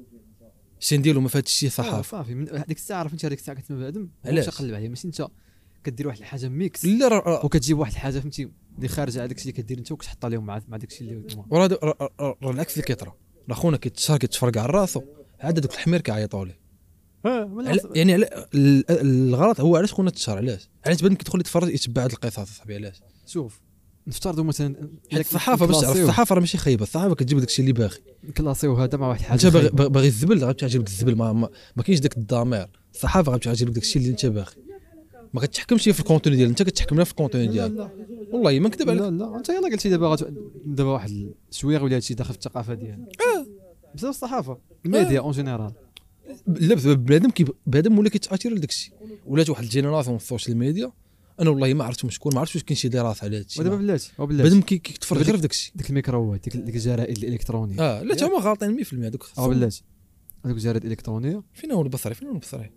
S2: السين ديالو ما فات الشيء
S1: آه،
S2: صحافه
S1: صافي من هذيك الساعه عرفت انت هذيك الساعه كتسمى بنادم
S2: علاش؟
S1: تقلب عليه ماشي انت كدير واحد الحاجه ميكس
S2: لا راه- راه
S1: وكتجيب واحد الحاجه فهمتي اللي خارجه على داكشي اللي كدير انت وكتحطها لهم مع مع داكشي اللي هما.
S2: راه هذا- راه- راه راه العكس اللي كيطرى راه خونا كيتشهر كيتفرقع على راسو عاد دوك الحمير كيعيطوا ليه
S1: اه ولا
S2: علا- يعني علا- ال- الغلط هو علاش خونا تشهر علاش علاش بنادم كيدخل يتفرج يتبع هاد القصص اصاحبي علاش
S1: شوف نفترضوا مثلا
S2: حيت الصحافه باش تعرف الصحافه راه ماشي خايبه الصحافه كتجيب داك الشيء اللي باغي
S1: كلاسيو هذا مع واحد الحاجه
S2: انت باغي
S1: خايبة.
S2: باغي باغي الزبل غادي تعجبك الزبل ما, ما, ما كاينش داك الضمير الصحافه غادي تعجبك داك الشيء اللي انت باغي ما كتحكمش هي في الكونتوني ديالك انت كتحكم لها في الكونتوني
S1: لا
S2: ديالك
S1: لا
S2: والله ما نكذب عليك
S1: لا لا انت يلا قلتي دابا غت... دابا واحد شويه ولا هادشي داخل في الثقافه ديالنا
S2: آه.
S1: اه بسبب الصحافه الميديا اون جينيرال
S2: لا بسبب بنادم كي بنادم ولا كيتاثر لداك الشيء ولات واحد الجينيراسيون في السوشيال ميديا انا والله ما عرفتهم شكون ما عرفتش واش كاين شي دراسه على هذا
S1: ودابا
S2: الشيء
S1: بلاتي او بلاتي
S2: بنادم كي- كيتفرج غير في داك الشيء
S1: ديك الميكروات ديك ديك الجرائد الالكترونيه
S2: اه لا تا هما غالطين 100% دوك
S1: او بلاتي هذوك الجرائد الالكترونيه
S2: فين هو البصري فين هو البصري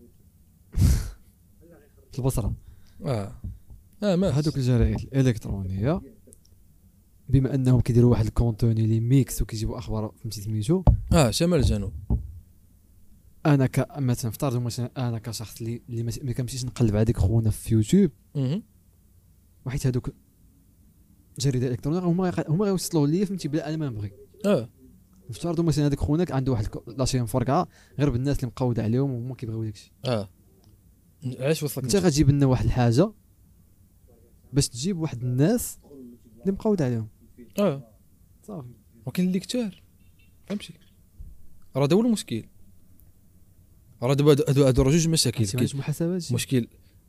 S1: في البصره
S2: اه اه ما
S1: آه، هذوك الجرائد الالكترونيه بما انهم كيديروا واحد الكونتوني لي ميكس وكيجيبوا اخبار فهمتي سميتو
S2: اه شمال جنوب
S1: انا ك مثلا افترضوا مثلا انا كشخص اللي اللي ما- ما كنمشيش نقلب على ديك خونا في يوتيوب
S2: مهم.
S1: وحيت هذوك الجريده الالكترونيه هما غي- هما غيوصلوا ليا فهمتي بلا انا ما نبغي
S2: اه
S1: افترضوا مثلا هذاك خونك عنده واحد الك- لاشين فرقعه غير بالناس اللي مقوده عليهم وهما كيبغيو داكشي
S2: اه علاش وصلك
S1: انت
S2: انت
S1: غتجيب لنا واحد الحاجه باش تجيب واحد الناس اللي مقود عليهم
S2: اه
S1: صافي
S2: ولكن اللي كتار فهمتي راه هذا هو المشكل راه دابا هادو- هادو هادو راه جوج مشاكل
S1: انت ما عندكش
S2: كاين
S1: محاسبات شي.
S2: مشكل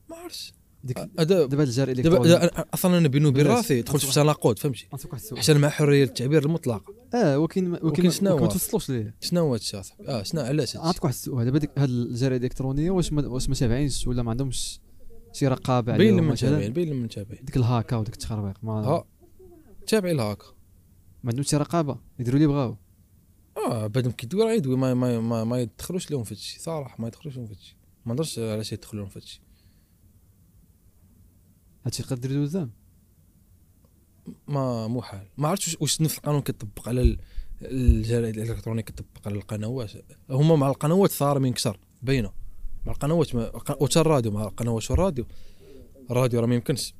S2: ما عرفتش
S1: ديك
S2: هذا
S1: دابا الجار
S2: آه، دابا
S1: الالكتروني
S2: دابا أنا- اصلا انا بيني وبين
S1: بلاش.
S2: راسي دخلت في تناقض فهمتي
S1: غنسولك واحد السؤال
S2: حيت انا مع حريه التعبير المطلقه
S1: اه ولكن ولكن
S2: ولكن آه، شنو
S1: شنو
S2: هو؟
S1: ما توصلوش ليه
S2: شنو هو هادشي اصاحبي اه شنو علاش هادشي
S1: نعطيك واحد السؤال دابا ديك هاد الجرائد الالكترونيه واش ما واش ما تابعينش ولا ما عندهمش شي رقابه
S2: بين
S1: عليهم
S2: لما
S1: مثلا
S2: تابعين بين لما تابعين
S1: ديك الهاكا وديك التخربيق ما
S2: ها تابعي الهاكر
S1: ما عندهمش شي رقابه يديروا اللي بغاو
S2: اه بعدهم كيدوي راه يدوي ما ما ما, ما يدخلوش لهم في هادشي صراحه ما يدخلوش لهم في هادشي ما نضرش علاش يدخلوا لهم في هادشي
S1: هادشي يقدر يديرو زعما
S2: ما مو حال ما عرفتش واش- واش نفس القانون كيطبق على ال- الجرائد الالكترونيه كيطبق على القنوات هما مع القنوات صارمين كثر باينه مع القنوات ما... وتا الراديو مع القنوات والراديو الراديو راه ما يمكنش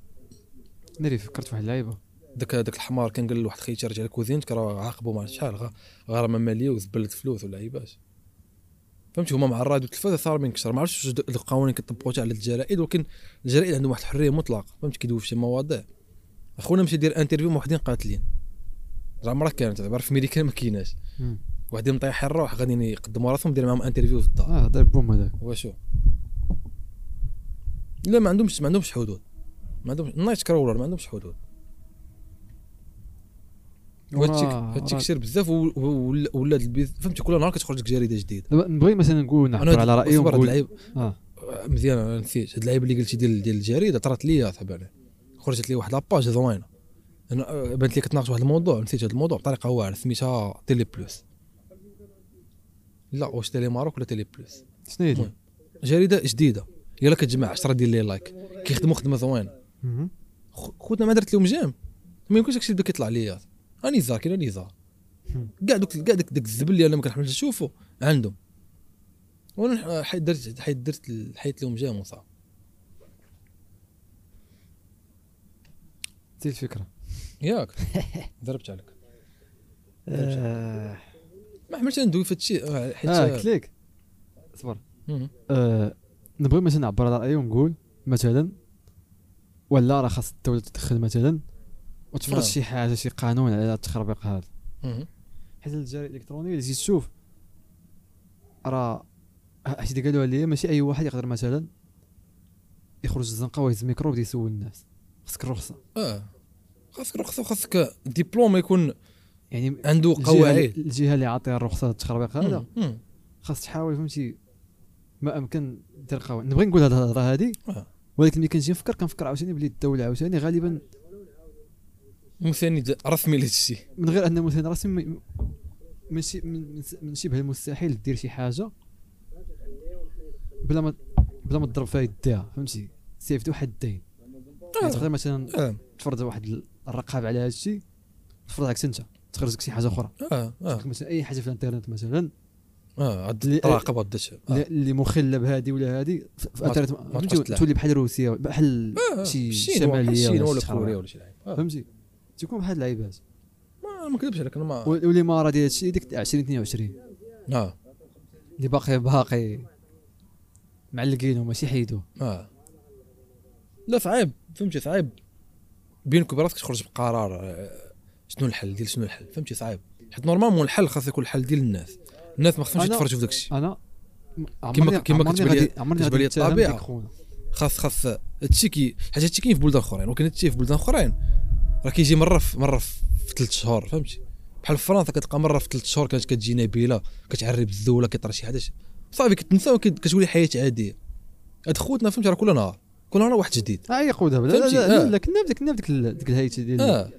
S1: ناري فكرت في واحد اللعيبه
S2: داك داك الحمار كان قال لواحد خيتي رجع لكوزينتك راه عاقبه ما عرفت شحال غ- غرامه ماليه وزبلت فلوس ولا عيباش فهمتي هما مع الراديو والتلفازه صارمين كثر ما عرفتش واش د- القوانين كطبقوا حتى على الجرائد ولكن الجرائد عندهم واحد الحريه مطلقه فهمتي كيدوي في شي مواضيع اخونا مشى يدير انترفيو مع وحدين قاتلين راه مرة كانت عباره في ميريكان ما كايناش
S1: مم.
S2: وحدين مطيحين الروح غاديين يقدموا راسهم يدير معاهم انترفيو في الدار
S1: اه ضرب بوم هذاك
S2: واشو لا ما عندهمش ما عندهمش حدود ما عندهمش نايت كرولر ما عندهمش حدود وهادشي
S1: وراه-
S2: هادشي
S1: راه-
S2: كثير بزاف و- و- ولا ولا البيز فهمتي كل نهار كتخرج لك جريده جديده
S1: دابا نبغي مثلا نقول نعبر على رايي
S2: صبر، هاد
S1: ونقول
S2: اللعيب
S1: اه
S2: آه، مزيان انا نسيت هاد اللعيبه اللي قلتي ديال ديال الجريده طرات ليا صاحبي انا خرجت لي واحد لاباج زوينه انا آه، بانت لي كتناقش واحد الموضوع نسيت هاد الموضوع بطريقه واعره سميتها تيلي بلوس لا واش تيلي ماروك ولا تيلي بلوس
S1: شنو هي
S2: المهم. جريده جديده يلا كتجمع 10 ديال لي لايك كيخدموا خدمه زوينه
S1: مهم.
S2: خ- خوتنا ما درت لهم جام ما يمكنش داكشي اللي بدا كيطلع ليا راني زار كاين راني زار كاع دوك كاع داك داك الزبل اللي انا ما كنحملش نشوفو عندهم وانا نح- حيت درت حيت درت ال- حيت لهم جام وصافي
S1: تي الفكره
S2: ياك ضربت عليك
S1: آه.
S2: ما حملتش ندوي في هادشي آه، حيت
S1: اه قلت لك صبر
S2: مم.
S1: آه نبغي مثلا نعبر على رايي ونقول مثلا ولا راه خاص الدوله تدخل مثلا وتفرض
S2: نعم.
S1: شي حاجه شي قانون على التخربيق هذا
S2: مم.
S1: حيت الجرائد الالكترونيه اللي جيت تشوف راه حيت اللي قالوها ليا ماشي اي واحد يقدر مثلا يخرج الزنقه ويهز الميكرو ويبدا يسول الناس خاصك الرخصه
S2: اه خاصك رخصه وخاصك دبلوم يكون
S1: يعني
S2: عنده
S1: الجهة اللي-
S2: قواعد
S1: الجهه اللي عاطيها الرخصه للتخربيق هذا
S2: مم. مم.
S1: خاص تحاول فهمتي ما امكن دير قوانين نبغي نقول هاد الهضره هادي
S2: آه.
S1: ولكن ملي كنجي نفكر كنفكر عاوتاني بلي الدوله عاوتاني غالبا
S2: مساند رسمي لهادشي
S1: من غير ان مثلا راسي م- من شي من, من- من شبه المستحيل دير شي حاجه بلا ما بلا ما تضرب فيها يديها فهمتي سيفتو حدين
S2: آه.
S1: يعني تقدر مثلا
S2: اه
S1: تفرض واحد الرقابه على هذا الشيء تفرض عليك انت تخرج لك شي حاجه اخرى
S2: اه اه
S1: تخرج مثلا اي حاجه في الانترنت مثلا
S2: اه
S1: اللي-
S2: عاد تراقب عاد داك
S1: اللي- اللي مخله بهادي ولا هادي في في
S2: ما
S1: الانترنت
S2: تقدر
S1: فهمتي
S2: تلعب.
S1: تولي بحال روسيا بحال
S2: آه،
S1: شي شماليه
S2: الصين
S1: ولا
S2: ولا
S1: شي
S2: كوريا
S1: حاجة.
S2: ولا شي لعيب آه.
S1: فهمتي تكون بحال اللعيبات
S2: ما ما كذبش عليك انا ما
S1: والاماره ديال هادشي ديك 2022
S2: اه
S1: اللي باقي باقي معلقينه ماشي حيدوه
S2: اه لا صعيب فهمتي صعيب بينك وبين راسك تخرج بقرار آه، شنو الحل ديال شنو الحل فهمتي صعيب حيت نورمالمون الحل خاص يكون الحل ديال الناس الناس ما خصهمش
S1: أنا-
S2: يتفرجوا في داك الشيء
S1: انا م-
S2: كيما-
S1: عمرني-
S2: كيما
S1: عمرني
S2: كتبان لي-
S1: غادي- عمرني
S2: كتبان
S1: غادي
S2: لي
S1: نتهم
S2: الطبيعة.
S1: ديك خونا.
S2: خاص خاص هادشي كي حيت هادشي كاين في بلدان اخرين ولكن هادشي في بلدان اخرين راه كيجي مره في مره في ثلاث شهور فهمتي بحال في فرنسا كتلقى مره في ثلاث شهور كانت كتجي نبيله كتعري بالزوله كيطرى شي حاجه صافي كتنسى وكت- كتولي حياه عاديه هاد خوتنا فهمتي راه كل نهار كل نهار واحد جديد
S1: اه يقودها بلا لا
S2: فهمتي؟
S1: لا لا
S2: آه.
S1: لا كنا بديك كنا بديك ال- ديك الهيئه ديال
S2: اه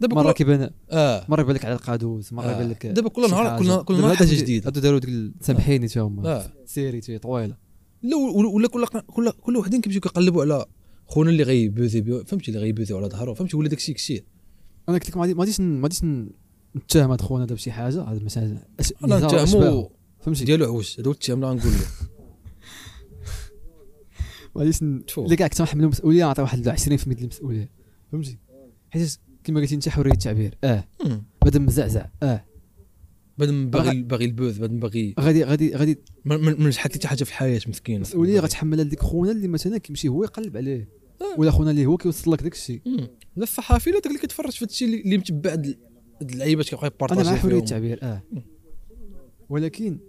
S2: دابا
S1: مره
S2: مره
S1: كيبان
S2: اه
S1: مره يبان لك على القادوس مره
S2: آه.
S1: يبان لك
S2: دابا كل نهار- كل نهار- كل نهار حاجة جديدة. آه.
S1: هادو داروا ديك ال- سامحيني تا هما
S2: اه
S1: سيري تي طويله
S2: لا ولا ولا كل كل كل وحدين كيمشيو كيقلبوا على خونا اللي غيبوزي بيو- فهمتي اللي غيبوزيو على ظهره فهمتي ولا داكشي كثير
S1: انا قلت لك ما غادي- ما غاديش ن- ما غاديش ن- نتهم هاد خونا دابا شي حاجه هاد مثلا
S2: انا نتهمو
S1: فهمتي
S2: ديالو عوج هذا هو التهم اللي غنقول له
S1: ما غاديش ن-
S2: شوف.
S1: اللي كاع تنحملو مسؤوليه نعطي واحد 20% ديال المسؤوليه فهمتي حيت كما قلتي انت حريه التعبير اه
S2: مم.
S1: بدا مزعزع اه
S2: بعد ما باغي باغي البوذ بعد ما باغي
S1: غادي غادي غادي
S2: ما ما- ما نجحت حتى حاجه في الحياه مسكين
S1: المسؤوليه غتحملها لديك خونا اللي مثلا كيمشي هو يقلب عليه
S2: آه.
S1: ولا خونا اللي هو كيوصل لك داك الشيء
S2: مم. لا الصحافي لا داك اللي كيتفرج في هادشي اللي- اللي متبع هاد ال- هاد اللعيبات كيبقى
S1: انا مع
S2: يبارطاجي
S1: حريه
S2: فيهم
S1: التعبير اه
S2: مم.
S1: ولكن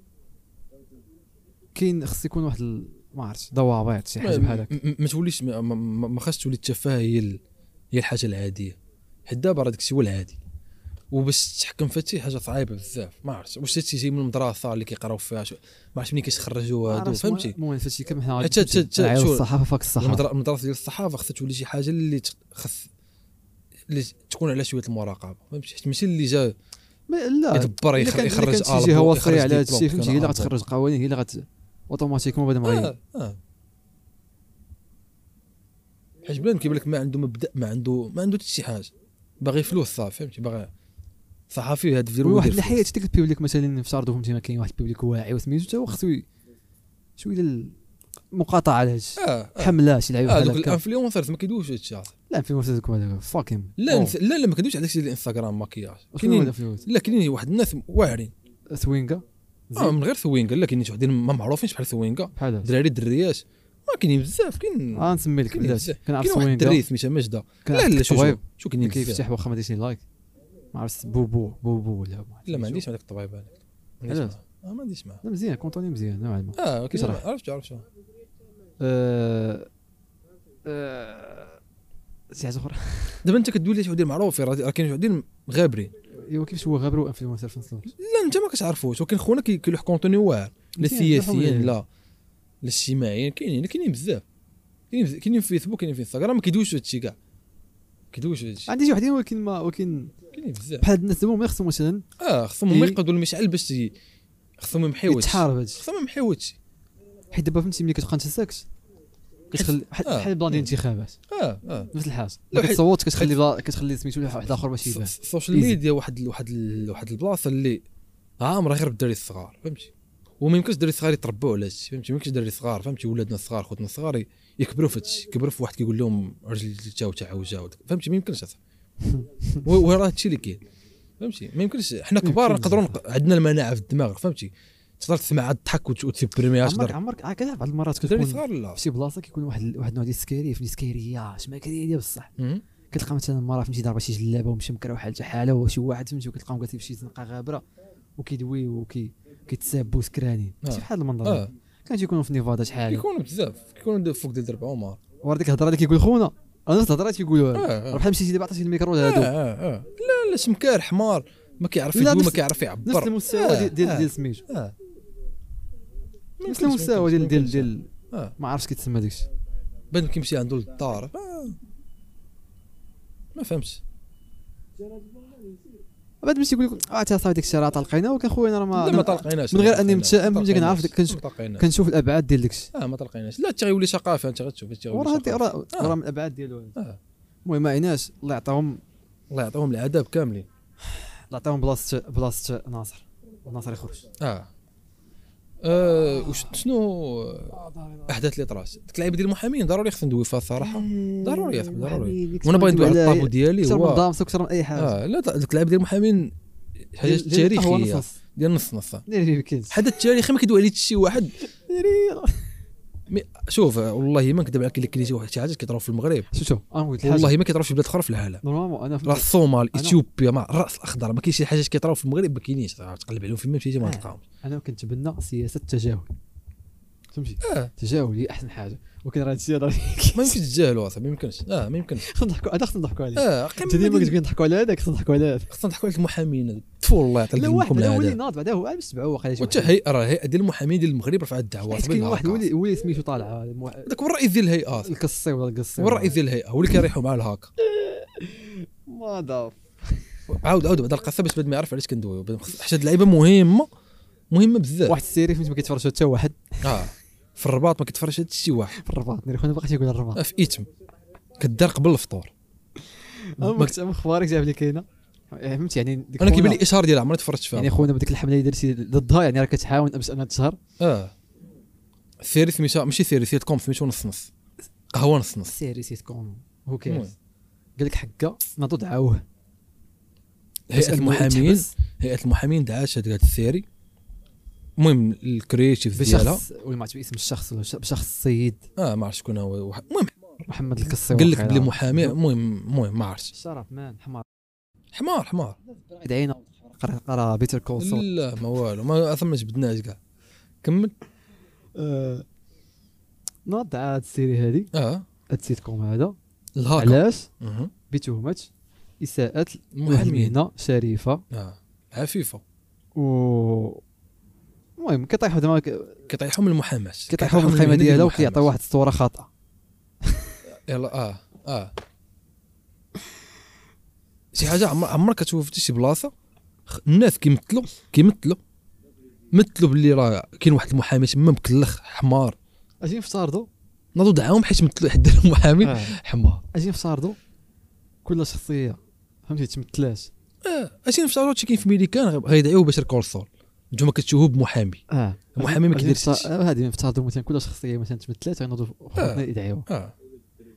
S1: كاين خص يكون واحد ال- ما عرفتش ضوابط شي حاجه بحال
S2: ما,
S1: هكا
S2: ما- ما توليش ما, ما- ما, ما خاص تولي التفاهه هي ال- هي الحاجه العاديه حيت دابا راه داكشي هو العادي وباش تحكم في هادشي حاجه صعيبه بزاف ما عرفتش واش هادشي جاي من المدرسه اللي كيقراو فيها شو ما عرفتش منين كيتخرجوا هادو فهمتي
S1: المهم فهمتي كم حنا
S2: حتى- حتى- حتى-
S1: عاود
S2: شو-
S1: الصحافه فاك الصحافه
S2: المدر- المدرسه ديال الصحافه خاصها تولي شي حاجه اللي تخ- خص اللي تكون على شويه المراقبه فهمتي حيت ماشي اللي جا
S1: ما- لا
S2: يدبر
S1: إلا
S2: يخر-
S1: كان- إلا
S2: يخرج
S1: كانت شي
S2: ألبوم،
S1: جهه
S2: يخرج
S1: وصيه على هذا
S2: ديبلوم
S1: الشيء فهمتي هي اللي
S2: كان
S1: غتخرج قوانين هي اللي غت اوتوماتيكمون بدا مغير
S2: اه اه حيت بلان كيبان لك ما عنده مبدا ما عنده ما عنده حتى شي حاجه باغي فلوس صافي فهمتي باغي صحفي هدف ديالو هو
S1: واحد
S2: يدير
S1: الحياه
S2: فلوس.
S1: ديك البيبليك مثلا في شاردو فهمتي ما كاين واحد البيبليك واعي وسميتو حتى هو خصو ي- شويه ديال المقاطعه على هادشي
S2: اه اه
S1: حمله شي لعيبه
S2: آه،
S1: بحال
S2: دوك
S1: هكا
S2: الانفلونسرز ما كيدويوش هادشي عاطي.
S1: لا في مسلسل هذاك فاكين
S2: لا نس- لا لا ما كيدويوش على داكشي ديال الانستغرام ماكياج
S1: كاينين
S2: كاينين لا كاينين واحد الناس واعرين
S1: سوينغا
S2: اه من غير ثوينكا لا كاينين شي وحدين ما معروفينش بحال ثوينكا
S1: بحال هكا
S2: دراري دريات ما كاينين بزاف كاين
S1: آه، نسمي لك
S2: كاينين
S1: بلاتي
S2: بزاف.
S1: كنعرف
S2: كاين واحد الدري
S1: سوينغا
S2: سميتها مجده لا
S1: كنعرف
S2: لا شو شو
S1: الطبيب
S2: شو كاينين
S1: اللي
S2: بزاف
S1: كيفتح واخا ما ديرش لايك ما عرفتش بوبو بوبو ولا ما عرفتش
S2: لا ما
S1: شو.
S2: عنديش هذاك الطبيب هذاك ما عنديش
S1: علاش؟
S2: معاه. آه، ما عنديش معاه
S1: لا مزيان كونتوني مزيان نوعا ما
S2: اه كي
S1: كيشرح.
S2: عرفت عرفت
S1: آه، آه، شي حاجه اخرى
S2: دابا انت كدوي لي شي وحدين معروفين راه راه كاين شي وحدين غابرين
S1: ايوا كيفاش هو غابر وانفلونسر في نفس الوقت
S2: لا انت ما كتعرفوش ولكن خونا كي- كيلوح كونتوني واعر لا
S1: مزيان، مزيان.
S2: سياسيين لا لا اجتماعيين كاينين كاينين بزاف كاينين بز- كاينين في فيسبوك كاينين في انستغرام ما كيدويش هادشي كاع كيدويش هادشي
S1: عندي شي وحدين ولكن ما ولكن
S2: كاينين بزاف
S1: بحال هاد الناس دابا هما خصهم مثلا
S2: اه خصهم هما
S1: إيه.
S2: يقدوا المشعل باش ي- خصهم يمحيو هادشي.
S1: يتحارب هادشي
S2: خصهم يمحيو هادشي
S1: حيت دابا فهمتي ملي كتبقى انت ساكت كتخلي بحال
S2: آه.
S1: بحال بلان ديال الانتخابات
S2: اه اه
S1: نفس الحاجه
S2: لا،
S1: ما
S2: حيت-
S1: كتصوت كتخلي بلا... كتخلي سميتو لواحد واحد اخر باش يبان
S2: الس- السوشيال
S1: إيزي.
S2: ميديا واحد واحد ال- واحد البلاصه اللي عامره غير بالدراري الصغار فهمتي وما يمكنش الدراري الصغار يتربوا على هادشي فهمتي ما يمكنش الدراري الصغار فهمتي ولادنا الصغار خوتنا الصغار ي- يكبروا في هادشي يكبروا في واحد كيقول لهم رجلي تا وتا عوجه وداك- فهمتي ما يمكنش أصاحبي. و- وراه هادشي اللي كاين فهمتي ما يمكنش حنا كبار
S1: يمكنش.
S2: نقدروا نق- عندنا المناعه في الدماغ فهمتي تقدر تسمع عاد الضحك وت- وتبرميها
S1: عمرك
S2: تقدر
S1: عمرك عا- كتعرف بعض المرات
S2: الدراري
S1: كتكون
S2: الصغار لا
S1: في شي بلاصه كيكون واحد واحد النوع ديال السكيري في السكيريه شما كريه بصح
S2: مم.
S1: كتلقى مثلا مرة فهمتي ضاربه شي جلابه ومشمكره وحال شي حاله وشي واحد فهمتي وكتلقاهم قالت بشي زنقه غابره وكيدوي وكي كيتسابوا سكرانين
S2: آه.
S1: شي بحال المنظر
S2: اه
S1: هذا. كان تيكونوا في نيفادا شحال
S2: كيكونوا بزاف كيكونوا فوق ديال الربع عمر
S1: ورا ديك الهضره اللي كيقول خونا انا نفس الهضره
S2: آه،
S1: تيقولوها
S2: آه.
S1: راه بحال مشيتي دابا عطيتي الميكرو
S2: آه،
S1: لهادو
S2: آه، آه. لا لا سمكار حمار ما كيعرف
S1: لا،
S2: يدوي ما
S1: نفس-
S2: كيعرف
S1: نفس
S2: يعبر
S1: المستوى
S2: آه،
S1: ديال ديال
S2: آه.
S1: ديال سميتو
S2: آه. ما
S1: نفس
S2: يمكنش-
S1: المستوى ديال
S2: ما
S1: ديال
S2: يمكنش.
S1: ديال
S2: آه.
S1: ما عرفتش كيتسمى داكشي
S2: بان كيمشي عنده للدار آه. ما فهمتش
S1: بعد مشي يقول لك اه تا صافي داك الشيء راه طلقينا ولكن خويا انا راه ما
S2: لا ما
S1: أنا-
S2: طلقيناش
S1: من غير أني
S2: ما
S1: متشائم، فهمتي، كنعرف
S2: طلقيناش.
S1: داك- كنشوف-
S2: ما طلقيناش
S1: كنشوف الابعاد ديال داكشي
S2: اه ما طلقيناش لا تيغيولي شقافه انت غتشوف تيغيولي
S1: وراه هاد-
S2: شقافة.
S1: راه
S2: آه.
S1: راه من الابعاد ديالو
S2: آه.
S1: المهم ما عيناش الله يعطيهم
S2: الله يعطيهم العذاب كاملين
S1: الله يعطيهم بلاصه بلاصه ناصر ناصر يخرج
S2: اه آه، وش شنو الاحداث اللي طرات ديك اللعيبه ديال المحامين ضروري خصنا ندوي فيها الصراحه ضروري يا صاحبي، ضروري. وانا باغي ندوي على الطابو ديالي
S1: اكثر من
S2: هو
S1: دامس اكثر من اي حاجه
S2: اه لا ديك اللعيبه ديال المحامين حاجه
S1: ديال- ديال القهوة
S2: تاريخيه
S1: نص- نص.
S2: ديال نص نص
S1: ديال البيكيز.
S2: الحدث التاريخي ما كيدوي عليه شي واحد
S1: ديال-
S2: شوف والله ما نكذب عليك الا كاين شي واحد شي حاجات كيطراو في المغرب
S1: شوف شوف انا قلت الحاجة.
S2: والله ما كيطراو في بلاد اخرى في العالم
S1: نورمالمون انا
S2: راه
S1: فهمت.
S2: الصومال
S1: أنا-
S2: اثيوبيا مع الراس الاخضر ما كاينش شي حاجات كيطراو في المغرب ما كاينينش راه تقلب عليهم فين ما مشيتي ما
S1: آه.
S2: تلقاهمش
S1: انا كنتبنى سياسه التجاهل فهمتي
S2: آه.
S1: التجاهل هي احسن حاجه ولكن راه هادشي راه
S2: ما يمكنش تجاهلوا اصاحبي ما يمكنش اه ما يمكنش
S1: خصنا نضحكوا هذا خصنا نضحكوا عليه
S2: اه
S1: انت ديما
S2: قيم
S1: كتبقى نضحكوا على هذاك خصنا نضحكوا على هذا
S2: خصنا نضحكوا على المحامين تفور الله يعطي
S1: لا واحد
S2: لكم
S1: لا ولي
S2: العذاب
S1: ناض بعدا هو عام سبعه واقيلا شي
S2: وحتى
S1: واحد.
S2: هيئه راه الهيئه ديال المحامين ديال المغرب رفعت الدعوه
S1: حيت كاين واحد ولي ولي سميتو طالع مو-
S2: ذاك هو الرئيس ديال الهيئه
S1: القصي ولا القصي
S2: هو الرئيس ديال الهيئه هو اللي كيريحوا مع الهاك
S1: ما دار
S2: عاود عاود بعد القصه باش بعد ما يعرف علاش كندويو بعد ما خص- حيت هاد اللعيبه مهمه مهمه بزاف
S1: واحد السيري فهمت ما كيتفرجش حتى واحد
S2: اه في الرباط ما كيتفرجش هاد الشيء واحد
S1: في الرباط نير خونا باقي تيقول الرباط
S2: آه، في ايتم كدار قبل الفطور
S1: ما كنت اخبارك جاب لي كاينه فهمت يعني ديك
S2: انا
S1: خونا-
S2: كيبان لي اشهار ديالها عمري تفرجت فيها
S1: يعني خونا بديك الحمله اللي درتي ضدها يعني راه كتحاول باش انها تشهر
S2: اه ثيري سميتها ماشي ثيري سيت كوم سميتو نص نص قهوه نص نص
S1: سيري سيت كون هو
S2: المهم.
S1: كيرز قال لك حقه ناضو دعاوه
S2: هيئه المحامين هيئه المحامين دعات هاد هاد الثيري المهم الكرييتيف ديالها
S1: بشخص ولا ما عرفتش باسم الشخص ولا ش- بشخص السيد
S2: اه ما عرفتش شكون هو واحد- المهم
S1: محمد القصي
S2: قال لك
S1: واقيلا.
S2: بلي محامي المهم المهم ما عرفتش
S1: الشرف مان حمار
S2: حمار حمار
S1: بعيد عينه قرا قرا بيتر كول سول
S2: لا ما والو ما اصلا ما جبدناش كاع كمل
S1: آه، ناض دعا هاد السيري هادي
S2: اه
S1: هاد السيت كوم هذا
S2: الهاكر
S1: علاش
S2: مه.
S1: بتهمه اساءه واحد
S2: المحامين
S1: المهنه شريفه
S2: اه عفيفه
S1: و المهم كيطيح زعما
S2: كيطيحوا من المحاماه
S1: كيطيحوا من القيمه
S2: المهنة
S1: ديالها
S2: المحاماة.
S1: وكيعطيو واحد الصوره خاطئه
S2: يلا اه اه شي حاجه عمر عمرك كتشوف في شي بلاصه خ- الناس كيمثلوا كيمثلوا مثلوا باللي راه كاين واحد المحامي تما مكلخ حمار
S1: اجي نفترضوا
S2: ناضوا دعاهم حيت مثلوا حد المحامي
S1: آه.
S2: حمار
S1: اجي نفترضوا كل شخصيه فهمتي تمثلاش
S2: اه اشي نفس هادشي كاين في ميريكان غ- غيدعيو باش الكورسول نتوما كتشوفوا بمحامي
S1: اه
S2: المحامي ما
S1: أجي
S2: كيديرش
S1: نفت-
S2: هادشي.
S1: آه، هادي نفترضوا مثلا كل شخصيه مثلا تمثلات غنوضوا خوتنا يدعيوها
S2: اه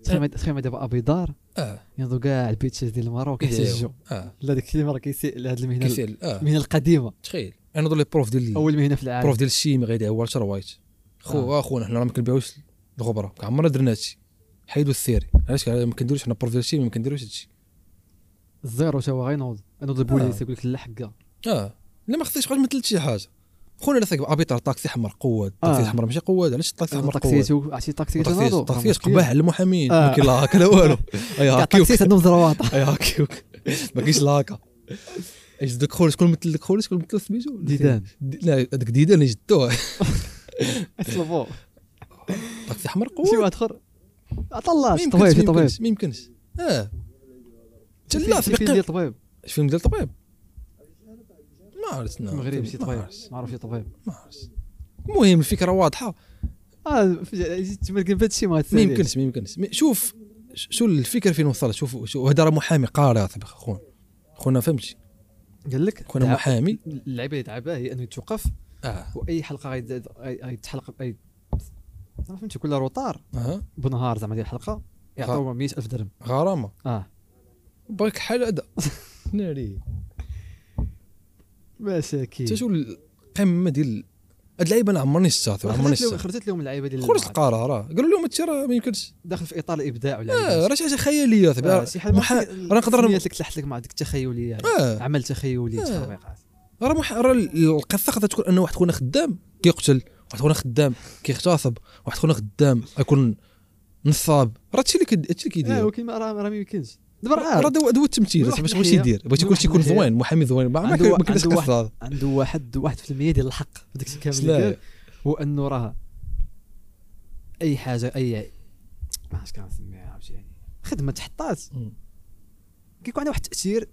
S1: تخيل تخيل دابا ابي دار
S2: اه
S1: ينوضوا كاع البيتشز ديال المغرب وكيحتجوا
S2: كيدعيو. اه
S1: لا ديك الكلمه راه كيسيء لهاد المهنه
S2: كيسال اه
S1: المهنه القديمه
S2: تخيل انا دول لي بروف ديال
S1: اول مهنه في العالم
S2: بروف ديال الشيمي غيدعيو والتر وايت
S1: آه.
S2: خو اخونا حنا راه ما كنبيعوش الغبره عمرنا درنا هادشي حيدوا الثيري علاش ما كنديروش حنا بروف ديال الشيمي ما كنديروش هادشي
S1: الزيرو تا هو غينوض ينوض
S2: آه.
S1: البوليس يقول لك لا حقا
S2: اه لا ما خصنيش واحد مثلت شي حاجه خونا لا ثقب ابيطار طاكسي حمر قواد الطاكسي
S1: آه.
S2: الحمر ماشي قواد علاش الطاكسي الحمر قواد
S1: طاكسيتو عرفتي طاكسيتو
S2: طاكسيات
S1: ناضو
S2: طاكسيات قباح على المحامين
S1: آه.
S2: ما كاين لا هاكا لا والو اي هاكيوك
S1: طاكسيت عندهم زرواطه
S2: اي هاكيوك ما كاينش لا هاكا اش داك خول شكون مثل داك خول شكون مثل سميتو
S1: ديدان
S2: دي- لا هذاك ديدان اللي جدوه
S1: اسلفو
S2: طاكسي حمر
S1: شي
S2: قواد
S1: واحد اخر عطا
S2: ما
S1: الله شي
S2: يمكنش
S1: طبيب
S2: ما
S1: شي آه، طبيب
S2: يمكنش ما يمكنش اه حتى لا
S1: شي فيلم
S2: سبق
S1: ديال طبيب
S2: فيلم ديال طبيب ما عرفت لا.
S1: مغربي شي
S2: ما
S1: طبيب
S2: عرفت،
S1: معروف شي طبيب
S2: ما عرفت المهم الفكره واضحه
S1: اه جيت تمركن بهذا الشيء ما
S2: ما
S1: تساليش.
S2: يمكنش ما يمكنش ما- شوف ش- شو الفكره فين وصلت شوف شوف هذا راه محامي قارئ سبق خونا خونا فهمتي
S1: قال لك
S2: خونا
S1: دعا-
S2: محامي
S1: اللعيبه اللي دعبها هي انه يتوقف
S2: اه
S1: واي حلقه غيت- غي- غيتحلق باي ما فهمتي كل روطار
S2: اها
S1: بنهار زعما ديال الحلقه يعطيو 100000 درهم
S2: غرامه
S1: اه
S2: باك حال هذا ناري
S1: مساكين
S2: حتى شو القمه ديال هاد اللعيبه انا عمرني شفتها عمرني
S1: خرجت لهم
S2: شفتها
S1: خرجت لهم اللعيبه ديال
S2: خرجت
S1: المغرب.
S2: القرار راه قالوا لهم هادشي راه ما يمكنش
S1: داخل في اطار الابداع ولا
S2: اه راه شي حاجه خياليه صاحبي
S1: آه،
S2: راه
S1: شي حاجه ما
S2: محا-
S1: فيك-
S2: راه نقدر
S1: سميت لك لحت لك مع ديك التخيليه
S2: اه
S1: عمل تخيلي
S2: آه.
S1: تخربيقات
S2: راه مح... راه القصه خاصها تكون ان واحد خونا خدام كيقتل واحد خونا خدام كيغتصب واحد خونا خدام يكون نصاب راه هادشي اللي كد- هادشي اللي
S1: اه
S2: كيدير
S1: وكيما راه راه ما يمكنش دابا راه
S2: راه
S1: عارف.
S2: دو دو التمثيل
S1: من واحد
S2: صاحبي باش بغيتي
S1: الناحية-
S2: دير بغيتي
S1: من
S2: كلشي يكون
S1: واحد الناحية-
S2: زوين محامي زوين ما ما
S1: عنده
S2: كاين-
S1: واحد-
S2: ما كاينش
S1: عنده
S2: قصه هذا
S1: عنده واحد واحد في المية ديال الحق في داكشي كامل اللي
S2: لا
S1: قال هو انه راه اي حاجه اي ما عرفتش كنسميها عرفتي يعني خدمه تحطات
S2: مم.
S1: كيكون عندها واحد التاثير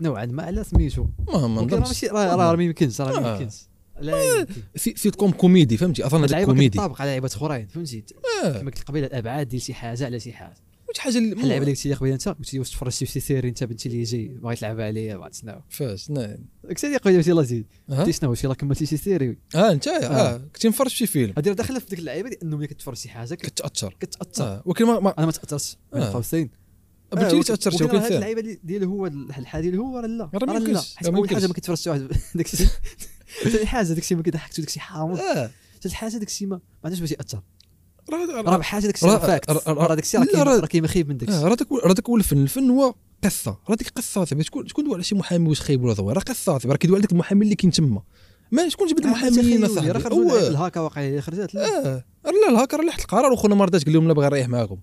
S1: نوعا ما على سميتو
S2: ما ما
S1: ولكن راه
S2: نظنش
S1: ماشي راه راه ما يمكنش راه ما
S2: آه.
S1: يمكنش لا يمكن
S2: سي- سيت كوم كوميدي فهمتي اظن هذاك
S1: اللعيبه
S2: كوميدي
S1: كتطابق على لعيبات اخرين فهمتي
S2: اه
S1: كما قلت قبيله الابعاد ديال شي حاجه على شي حاجه
S2: واش حاجه اللي
S1: بحال اللعبه اللي قلتي لي قبيله انت قلت لي واش تفرجتي في شي سيري انت بنتي اللي جاي باغي تلعب عليا باغي تسناو
S2: فاش نا-
S1: قلت لي قبيله قلت لي زيد
S2: ها؟
S1: قلت شنو شي لا كملتي شي سيري
S2: اه انت اه
S1: آه.
S2: كنت مفرج في شي فيلم
S1: هادي راه داخله في ديك اللعيبه ديال انه ملي كتفرج شي حاجه كت-
S2: كتاثر
S1: كتاثر
S2: اه ولكن ما- ما
S1: انا ما تاثرتش بين
S2: آه.
S1: قوسين
S2: قبل
S1: آه،
S2: لي تاثرت
S1: ولكن راه هاد
S2: وكنت
S1: اللعيبه دي- ديال هو الحاله ديال هو راه لا
S2: راه ما
S1: راه لا
S2: يمكنش،
S1: حيت
S2: راه ما
S1: اول حاجه ما
S2: يمكنش.
S1: كتفرجش شي واحد داكشي ثاني حاجه داكشي ما كيضحكش داكشي حامض
S2: اه
S1: ثالث حاجه داكشي ما ما عندوش باش ياثر
S2: راه
S1: رابع حاجه داكشي
S2: راه-
S1: راه فاكت
S2: راه- راه-
S1: راه داكشي راه
S2: لا،
S1: كاين-
S2: راه-
S1: راه كاين خايب من داكشي
S2: اه راه داك راه داك هو الفن الفن هو قصه راه ديك قصه صاحبي شكون شكون دوا على شي محامي واش خايب ولا زوين راه قصه صاحبي راه كيدوا على داك المحامي اللي كاين تما ما شكون جبد المحاميين
S1: تخيلي، آه، راه
S2: صاحبي
S1: خرجوا لعيبة
S2: هو
S1: الهاكا واقع اللي خرجت لا
S2: اه لا الهاكر اللي حط القرار وخونا ما رضاش قال لهم لا باغي نريح معاكم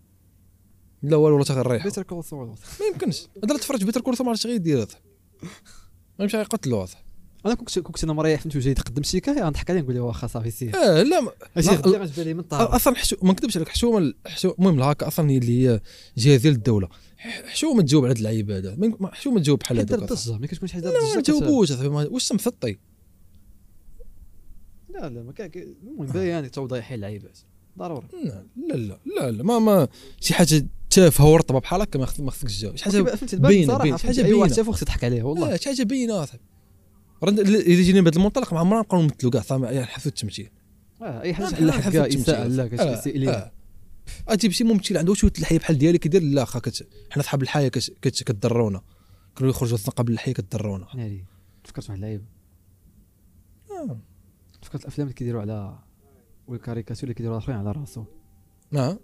S2: لا والو والله تغريح
S1: بيتر كول سول
S2: ما يمكنش هذا اللي تفرج بيتر كورسو ما عرفتش غيدير اصاحبي ما يمشي غيقتلو اصاحبي
S1: انا كنت كنت انا مريح فهمت وجاي تقدم شيكايه غنضحك عليه نقول له واخا صافي سير
S2: اه لا ما-
S1: اجي
S2: لا، أه،
S1: غدا غتبان لي من الطار
S2: اصلا حشو ما نكذبش عليك حشومه حشو المهم الهاكا اصلا هي اللي هي جهه ديال الدوله ح- حشومه تجاوب على هاد اللعيب هذا ما يمكن- ما- حشومه تجاوب بحال
S1: حيت دار
S2: هذا
S1: الضجه ملي كتكون شي حاجه دار
S2: لا ما
S1: الضجه كت-
S2: جاوبوش اصاحبي ما- واش مسطي
S1: لا لا ما كان كي-
S2: أه.
S1: المهم باين توضيح اللعيبات ضروري
S2: لا لا لا لا, لا ما ما شي حاجه تافهه ورطبه بحال هكا ما خص- ما خصكش تجاوب شي حاجه
S1: كيبقى- فهمتي
S2: باينة-
S1: باينه صراحه
S2: باينة. شي حاجة أه.
S1: فهمتي اي أيوة، واحد
S2: باينة.
S1: شافو خصك تضحك عليه والله
S2: والله شي حاجه باينه اصاحبي راه ند- الا جينا بهذا المنطلق ما عمرنا نبقاو نمثلوا كاع صافي يعني نحثوا التمثيل
S1: آه، اي حاجه
S2: نحن
S1: لا
S2: نحثوا
S1: حكا
S2: التمثيل
S1: اساءه
S2: أصاحبي.
S1: لا
S2: آه،
S1: كتسيء لينا
S2: آه. اجيب شي ممثل عنده شويه الحياه بحال ديالي كيدير لا اخا كت- حنا صحاب الحياه كت- كت- كتضرونا كانوا يخرجوا الزنقه بالحياه كتضرونا
S1: شحال هادي فكرت واحد يعني اللعيب
S2: آه.
S1: فكرت الافلام اللي كيديروا على والكاريكاتور اللي كيديروا الاخرين على راسو
S2: اه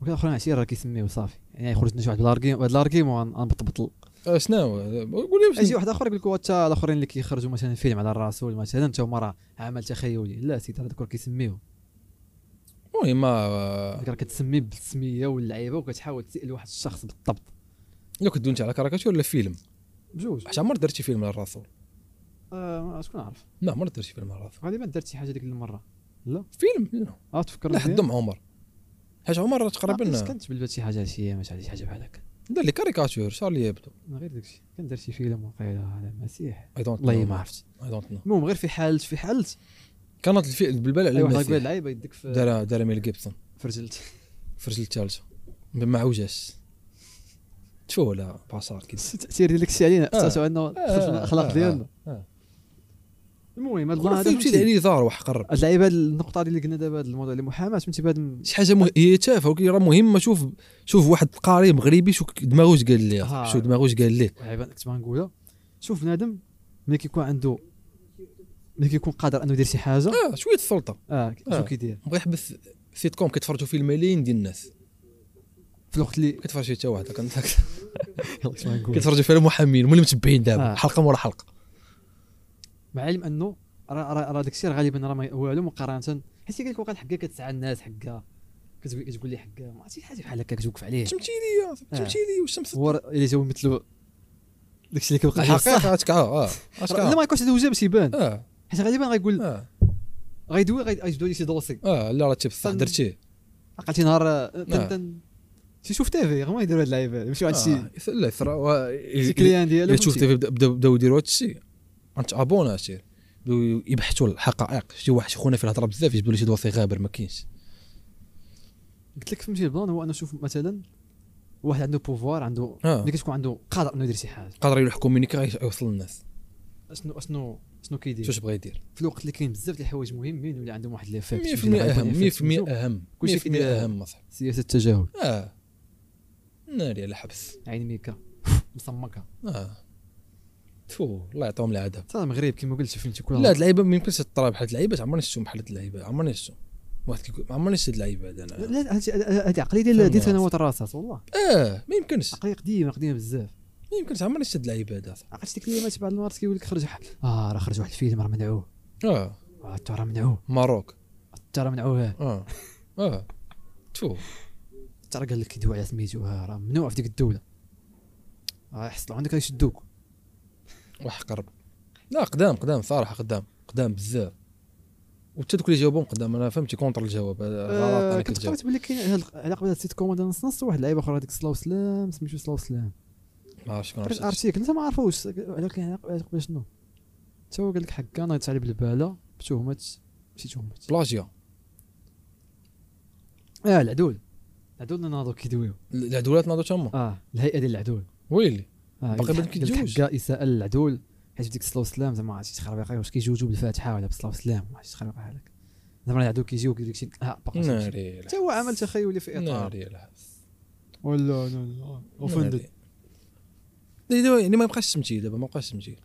S1: وكان الاخرين عشير راه كيسميه صافي يعني يخرج لنا شي واحد بلاركيم واحد الاركيم وغنبطبط
S2: آه، شنو قول
S1: يجي
S2: لي واش-
S1: واحد اخر يقول لك هو تا الاخرين اللي كيخرجوا مثلا فيلم على الرسول مثلا تا هما راه عمل تخيلي لا سيدي هذاك راه كيسميو
S2: المهم آه،
S1: هذاك راه كتسميه بالسميه واللعيبه وكتحاول تسال واحد الشخص بالضبط
S2: لو كدو انت على كاريكاتور ولا فيلم
S1: بجوج
S2: واش عمر درت شي فيلم على الرسول
S1: آه شكون عارف
S2: لا عمر درت شي فيلم على الرسول
S1: غالبا درت شي حاجه ديك المره
S2: فيلم لا.
S1: اه تفكر
S2: لا حد
S1: مزيان؟
S2: ام عمر حيت عمر راه
S1: ما عرفتش
S2: تقريبا
S1: كنت بالبات شي حاجه شي ما شي حاجه بحال هكا
S2: دار لي كاريكاتور صار لي يبدو
S1: أنا غير داكشي كندير شي فيلم وقيله على المسيح
S2: اي دونت
S1: والله ما عرفت
S2: اي دونت نو
S1: المهم غير في حالة في حالة
S2: كانت الفي... بالبال على
S1: اي واحد قبل
S2: المسيح
S1: لعيبه يديك في
S2: دار دار ميل جيبسون
S1: في رجلت
S2: في رجل الثالثه ما عوجاش تشوف لا باشا كده
S1: التاثير ديال داكشي علينا
S2: آه.
S1: اثر انه خرج من
S2: آه،
S1: الاخلاق
S2: آه،
S1: ديالنا
S2: آه.
S1: المهم هاد
S2: والله
S1: النهار
S2: فهمتي
S1: هذا
S2: اللي زار يعني واحد قرب
S1: اللعيبه هاد النقطه اللي قلنا دابا هاد الموضوع اللي محاماه فهمتي بهاد الم-
S2: شي حاجه مه... هي تافهه ولكن راه مهمه شوف شوف واحد قاري مغربي شو دماغه واش قال
S1: آه.
S2: لي شو دماغه واش قال لي
S1: اللعيبه اللي كنت غنقولها شوف بنادم ملي كيكون عنده ملي كيكون قادر انه يدير شي حاجه
S2: اه شويه السلطه
S1: اه
S2: آه.
S1: شنو كيدير
S2: بغا يحبس سيت كوم كيتفرجوا فيه الملايين ديال الناس
S1: في الوقت اللي
S2: كيتفرج فيه حتى واحد كان-
S1: كنت غنقول
S2: كيتفرجوا فيه المحامين هما المتبعين دابا
S1: آه.
S2: حلقه مورا حلقه
S1: مع العلم انه راه راه راه داكشي راه غالبا راه ما والو مقارنه حيت كيقول لك وقت حكا كتسعى الناس حكا كتقول كتقول لي حكا ما عرفتي شي حاجه بحال هكا كتوقف عليه
S2: تمثيليه تمثيليه والشمس
S1: هو راه الا جاو يمثلوا داكشي اللي كيوقع عليه صح
S2: الحقيقه عاتك اه اه عاتك
S1: لا
S2: آه.
S1: ما يكونش هذا باش يبان
S2: اه
S1: حيت غالبا غيقول
S2: اه
S1: غيدوي غي- غيجبدوا لي شي دوسي
S2: اه لا راه تي بصح
S1: تن-
S2: درتيه
S1: عقلتي نهار آه،
S2: آه.
S1: تن تن شي شوف تيفي غير ما يديروا هاد اللعيبه يمشيو عند شي
S2: آه، إيه، يث- لا يثرى و-
S1: شي
S2: الا
S1: كليان ديالو
S2: إلا شفت
S1: فهمتي.
S2: بداو بداو يديروا هذا الشيء انت ابونا هادشي بداو يبحثوا الحقائق شي واحد شي خونا فيه الهضره بزاف يجبدوا لي شي دوسي غابر ما كاينش
S1: قلت لك فهمتي البلان هو انه شوف مثلا واحد عنده بوفوار عنده
S2: آه.
S1: ملي كتكون عنده قادر انه يدير شي حاجه
S2: قادر يلوح كومينيكا يوصل للناس
S1: اشنو اشنو شنو
S2: شو
S1: كيدير
S2: بغا يدير
S1: في الوقت اللي كاين بزاف ديال الحوايج مهمين ولا عندهم واحد ليفيكت
S2: 100% اهم 100% اهم
S1: كل شيء
S2: 100%
S1: كده-
S2: اهم اصاحبي
S1: سياسه التجاهل
S2: اه ناري على حبس
S1: عين ميكا مصمكه
S2: اه تفو الله يعطيهم العذاب
S1: حتى المغرب كما قلت فهمتي كل
S2: لا هاد اللعيبه ما يمكنش تطرى بحال هاد اللعيبه عمرني شفتهم بحال هاد اللعيبه عمرني شفتهم واحد كيقول عمرني شفت اللعيبه هذا
S1: لا-
S2: انا
S1: لا هذه هذه عقليه ديال
S2: فهمني
S1: ديال سنوات الرصاص والله
S2: اه ما يمكنش
S1: عقليه قديمه قديمه بزاف
S2: ما يمكنش عمرني شفت اللعيبه هذا
S1: عرفت ديك الكلمات بعض المرات كيقول لك خرج واحد- اه راه خرج واحد الفيلم راه منعوه
S2: اه
S1: آه، تا راه منعوه
S2: ماروك
S1: تا راه منعوه
S2: اه اه تفو
S1: تا راه قال لك يدوي على سميتو آه، راه ممنوع في ديك الدوله آه، يحصلوا عندك يشدوك
S2: واحد قرب لا قدام قدام صراحه قدام قدام بزاف وحتى دوك اللي جاوبهم قدام انا فهمتي كونتر الجواب هذا غلط
S1: آه،
S2: انا
S1: كنت
S2: كنت
S1: قريت بلي كاين هاد- على قبل هاد السيت كوموند نص نص واحد اللعيبه اخرى هذيك سلاو سلام سميتو سلاو سلام
S2: ما عرفتش شكون
S1: قريت
S2: عرفت
S1: ارتيكل انت ما عرفوش على كاين على قبل- قبل شنو تا هو قال لك حكا انا على بالباله بتهمه ماشي تهمه
S2: بلاجيا
S1: اه العدول العدول اللي ناضو كيدويو
S2: العدولات ناضوا تما
S1: اه الهيئه ديال العدول
S2: ويلي
S1: آه
S2: باقي
S1: قال
S2: بان
S1: لك-
S2: كيتزوج.
S1: قال لك حكا اساءه للعدول حيت ديك الصلاه والسلام زعما عرفتي تخربيقه واش كيجوجوا بالفاتحه ولا بالصلاه والسلام ما عرفتش تخربيقه هذاك زعما العدول كيجيو كيدير داكشي اه باقي شي-
S2: ناري الحبس.
S1: حتى هو عمل تخيلي في اطار
S2: ناري الحبس.
S1: ولا لا لا
S2: ناري. دابا يعني ما يبقاش تمثيل دابا ما بقاش تمثيل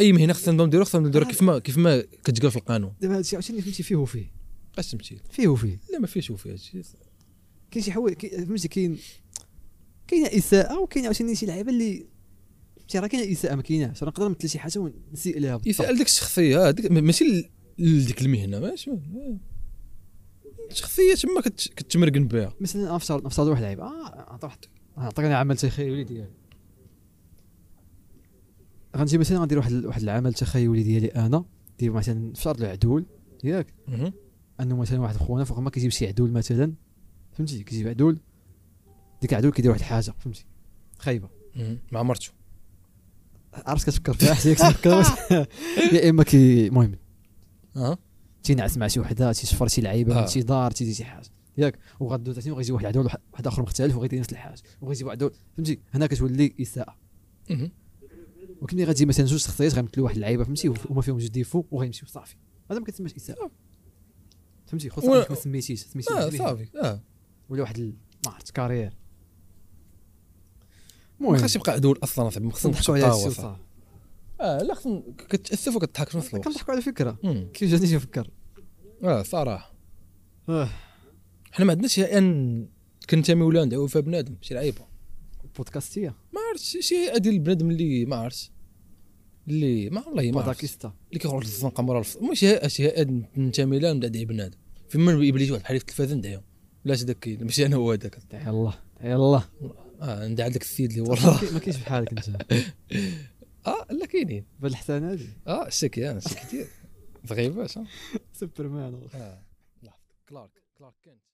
S2: اي مهنه خصنا نبداو نديرو خصنا نبداو نديرو كيف ما كيف ما كتقال في القانون
S1: دابا هادشي عرفتي اللي فهمتي فيه وفيه
S2: ما بقاش تمثيل
S1: فيه وفيه
S2: لا ما فيهش وفيه هادشي
S1: كاين شي حوايج كاين- فهمتي كاين كاينه اساءه وكاين عاوتاني شي لعيبه اللي فهمتي راه كاينه اساءه ما كايناش راه نقدر نمثل شي حاجه ونسيء ليها بالضبط.
S2: يسال ديك الشخصيه هذيك م- ماشي ل- لديك المهنه ماشي آه. شخصيه تما كت- كتمرقن بها
S1: مثلا نفترض نفترض واحد لعيب اه عطى واحد عطيني عمل تخيلي ديالي غنجي مثلا غندير واحد واحد العمل تخيلي ديالي انا ديال مثلا نفترض العدول ياك
S2: مهم.
S1: انه مثلا واحد خونا فوق ما كيجيب شي عدول مثلا فهمتي كيجيب عدول ديك العدول كيدير واحد الحاجه فهمتي خايبه
S2: مهم. مع مرته
S1: عرفت كتفكر فيها حتى كتفكر يا اما كي المهم
S2: اه
S1: تينعس مع شي وحده تيشفر شي لعيبه
S2: آه.
S1: من شي دار تيدي شي حاجه ياك وغدوز عشان وغيجي واحد عدول واحد اخر مختلف وغيدير نفس الحاجه وغيجي واحد عدول فهمتي هنا كتولي اساءه
S2: مهم.
S1: ولكن ملي غتجي مثلا جوج شخصيات غيمثلوا واحد اللعيبه فهمتي وما فيهم جوج ديفو وغيمشيو صافي هذا ما كتسماش
S2: آه.
S1: اساءه فهمتي خصك
S2: و-
S1: ما سميتيش سميتي
S2: اه
S1: واحد اللي-
S2: صافي اه
S1: ولا واحد ال- ما عرفت كارير
S2: ما
S1: المهم
S2: خاصش يبقى عدول اصلا صاحبي ما خصنا
S1: نضحكوا على هادشي
S2: نحطوا صاحبي
S1: وصافي
S2: اه لا خصنا كتاسف وكتضحك في نفس الوقت
S1: كنضحكوا على فكره
S2: مم.
S1: كيف جاتني نفكر
S2: اه صراحه
S1: آه،
S2: حنا ما عندناش ان كنتميو ولا ندعو فيها بنادم شي لعيبه
S1: بودكاستيه
S2: ما عرفتش شي ادي البنادم اللي ما عرفتش اللي ما والله ما عرفتش
S1: بودكاستة
S2: اللي كيخرج للزنقه مورا الفصل ماشي شي هاد ننتمي لها نبدا ندعي بنادم فيما يبان لي شي واحد بحال في التلفازه ندعيهم بلاش داك ماشي انا هو هذاك
S1: دعي الله دعي الله
S2: اه ندعي داك السيد اللي والله
S1: ما كاينش بحالك انت
S2: اه لا كاينين
S1: بهاد الحسنه هادي
S2: اه الشكي انا الشكي ديال باش
S1: سوبرمان والله
S2: اه لحظه آه، كلارك كلارك كنت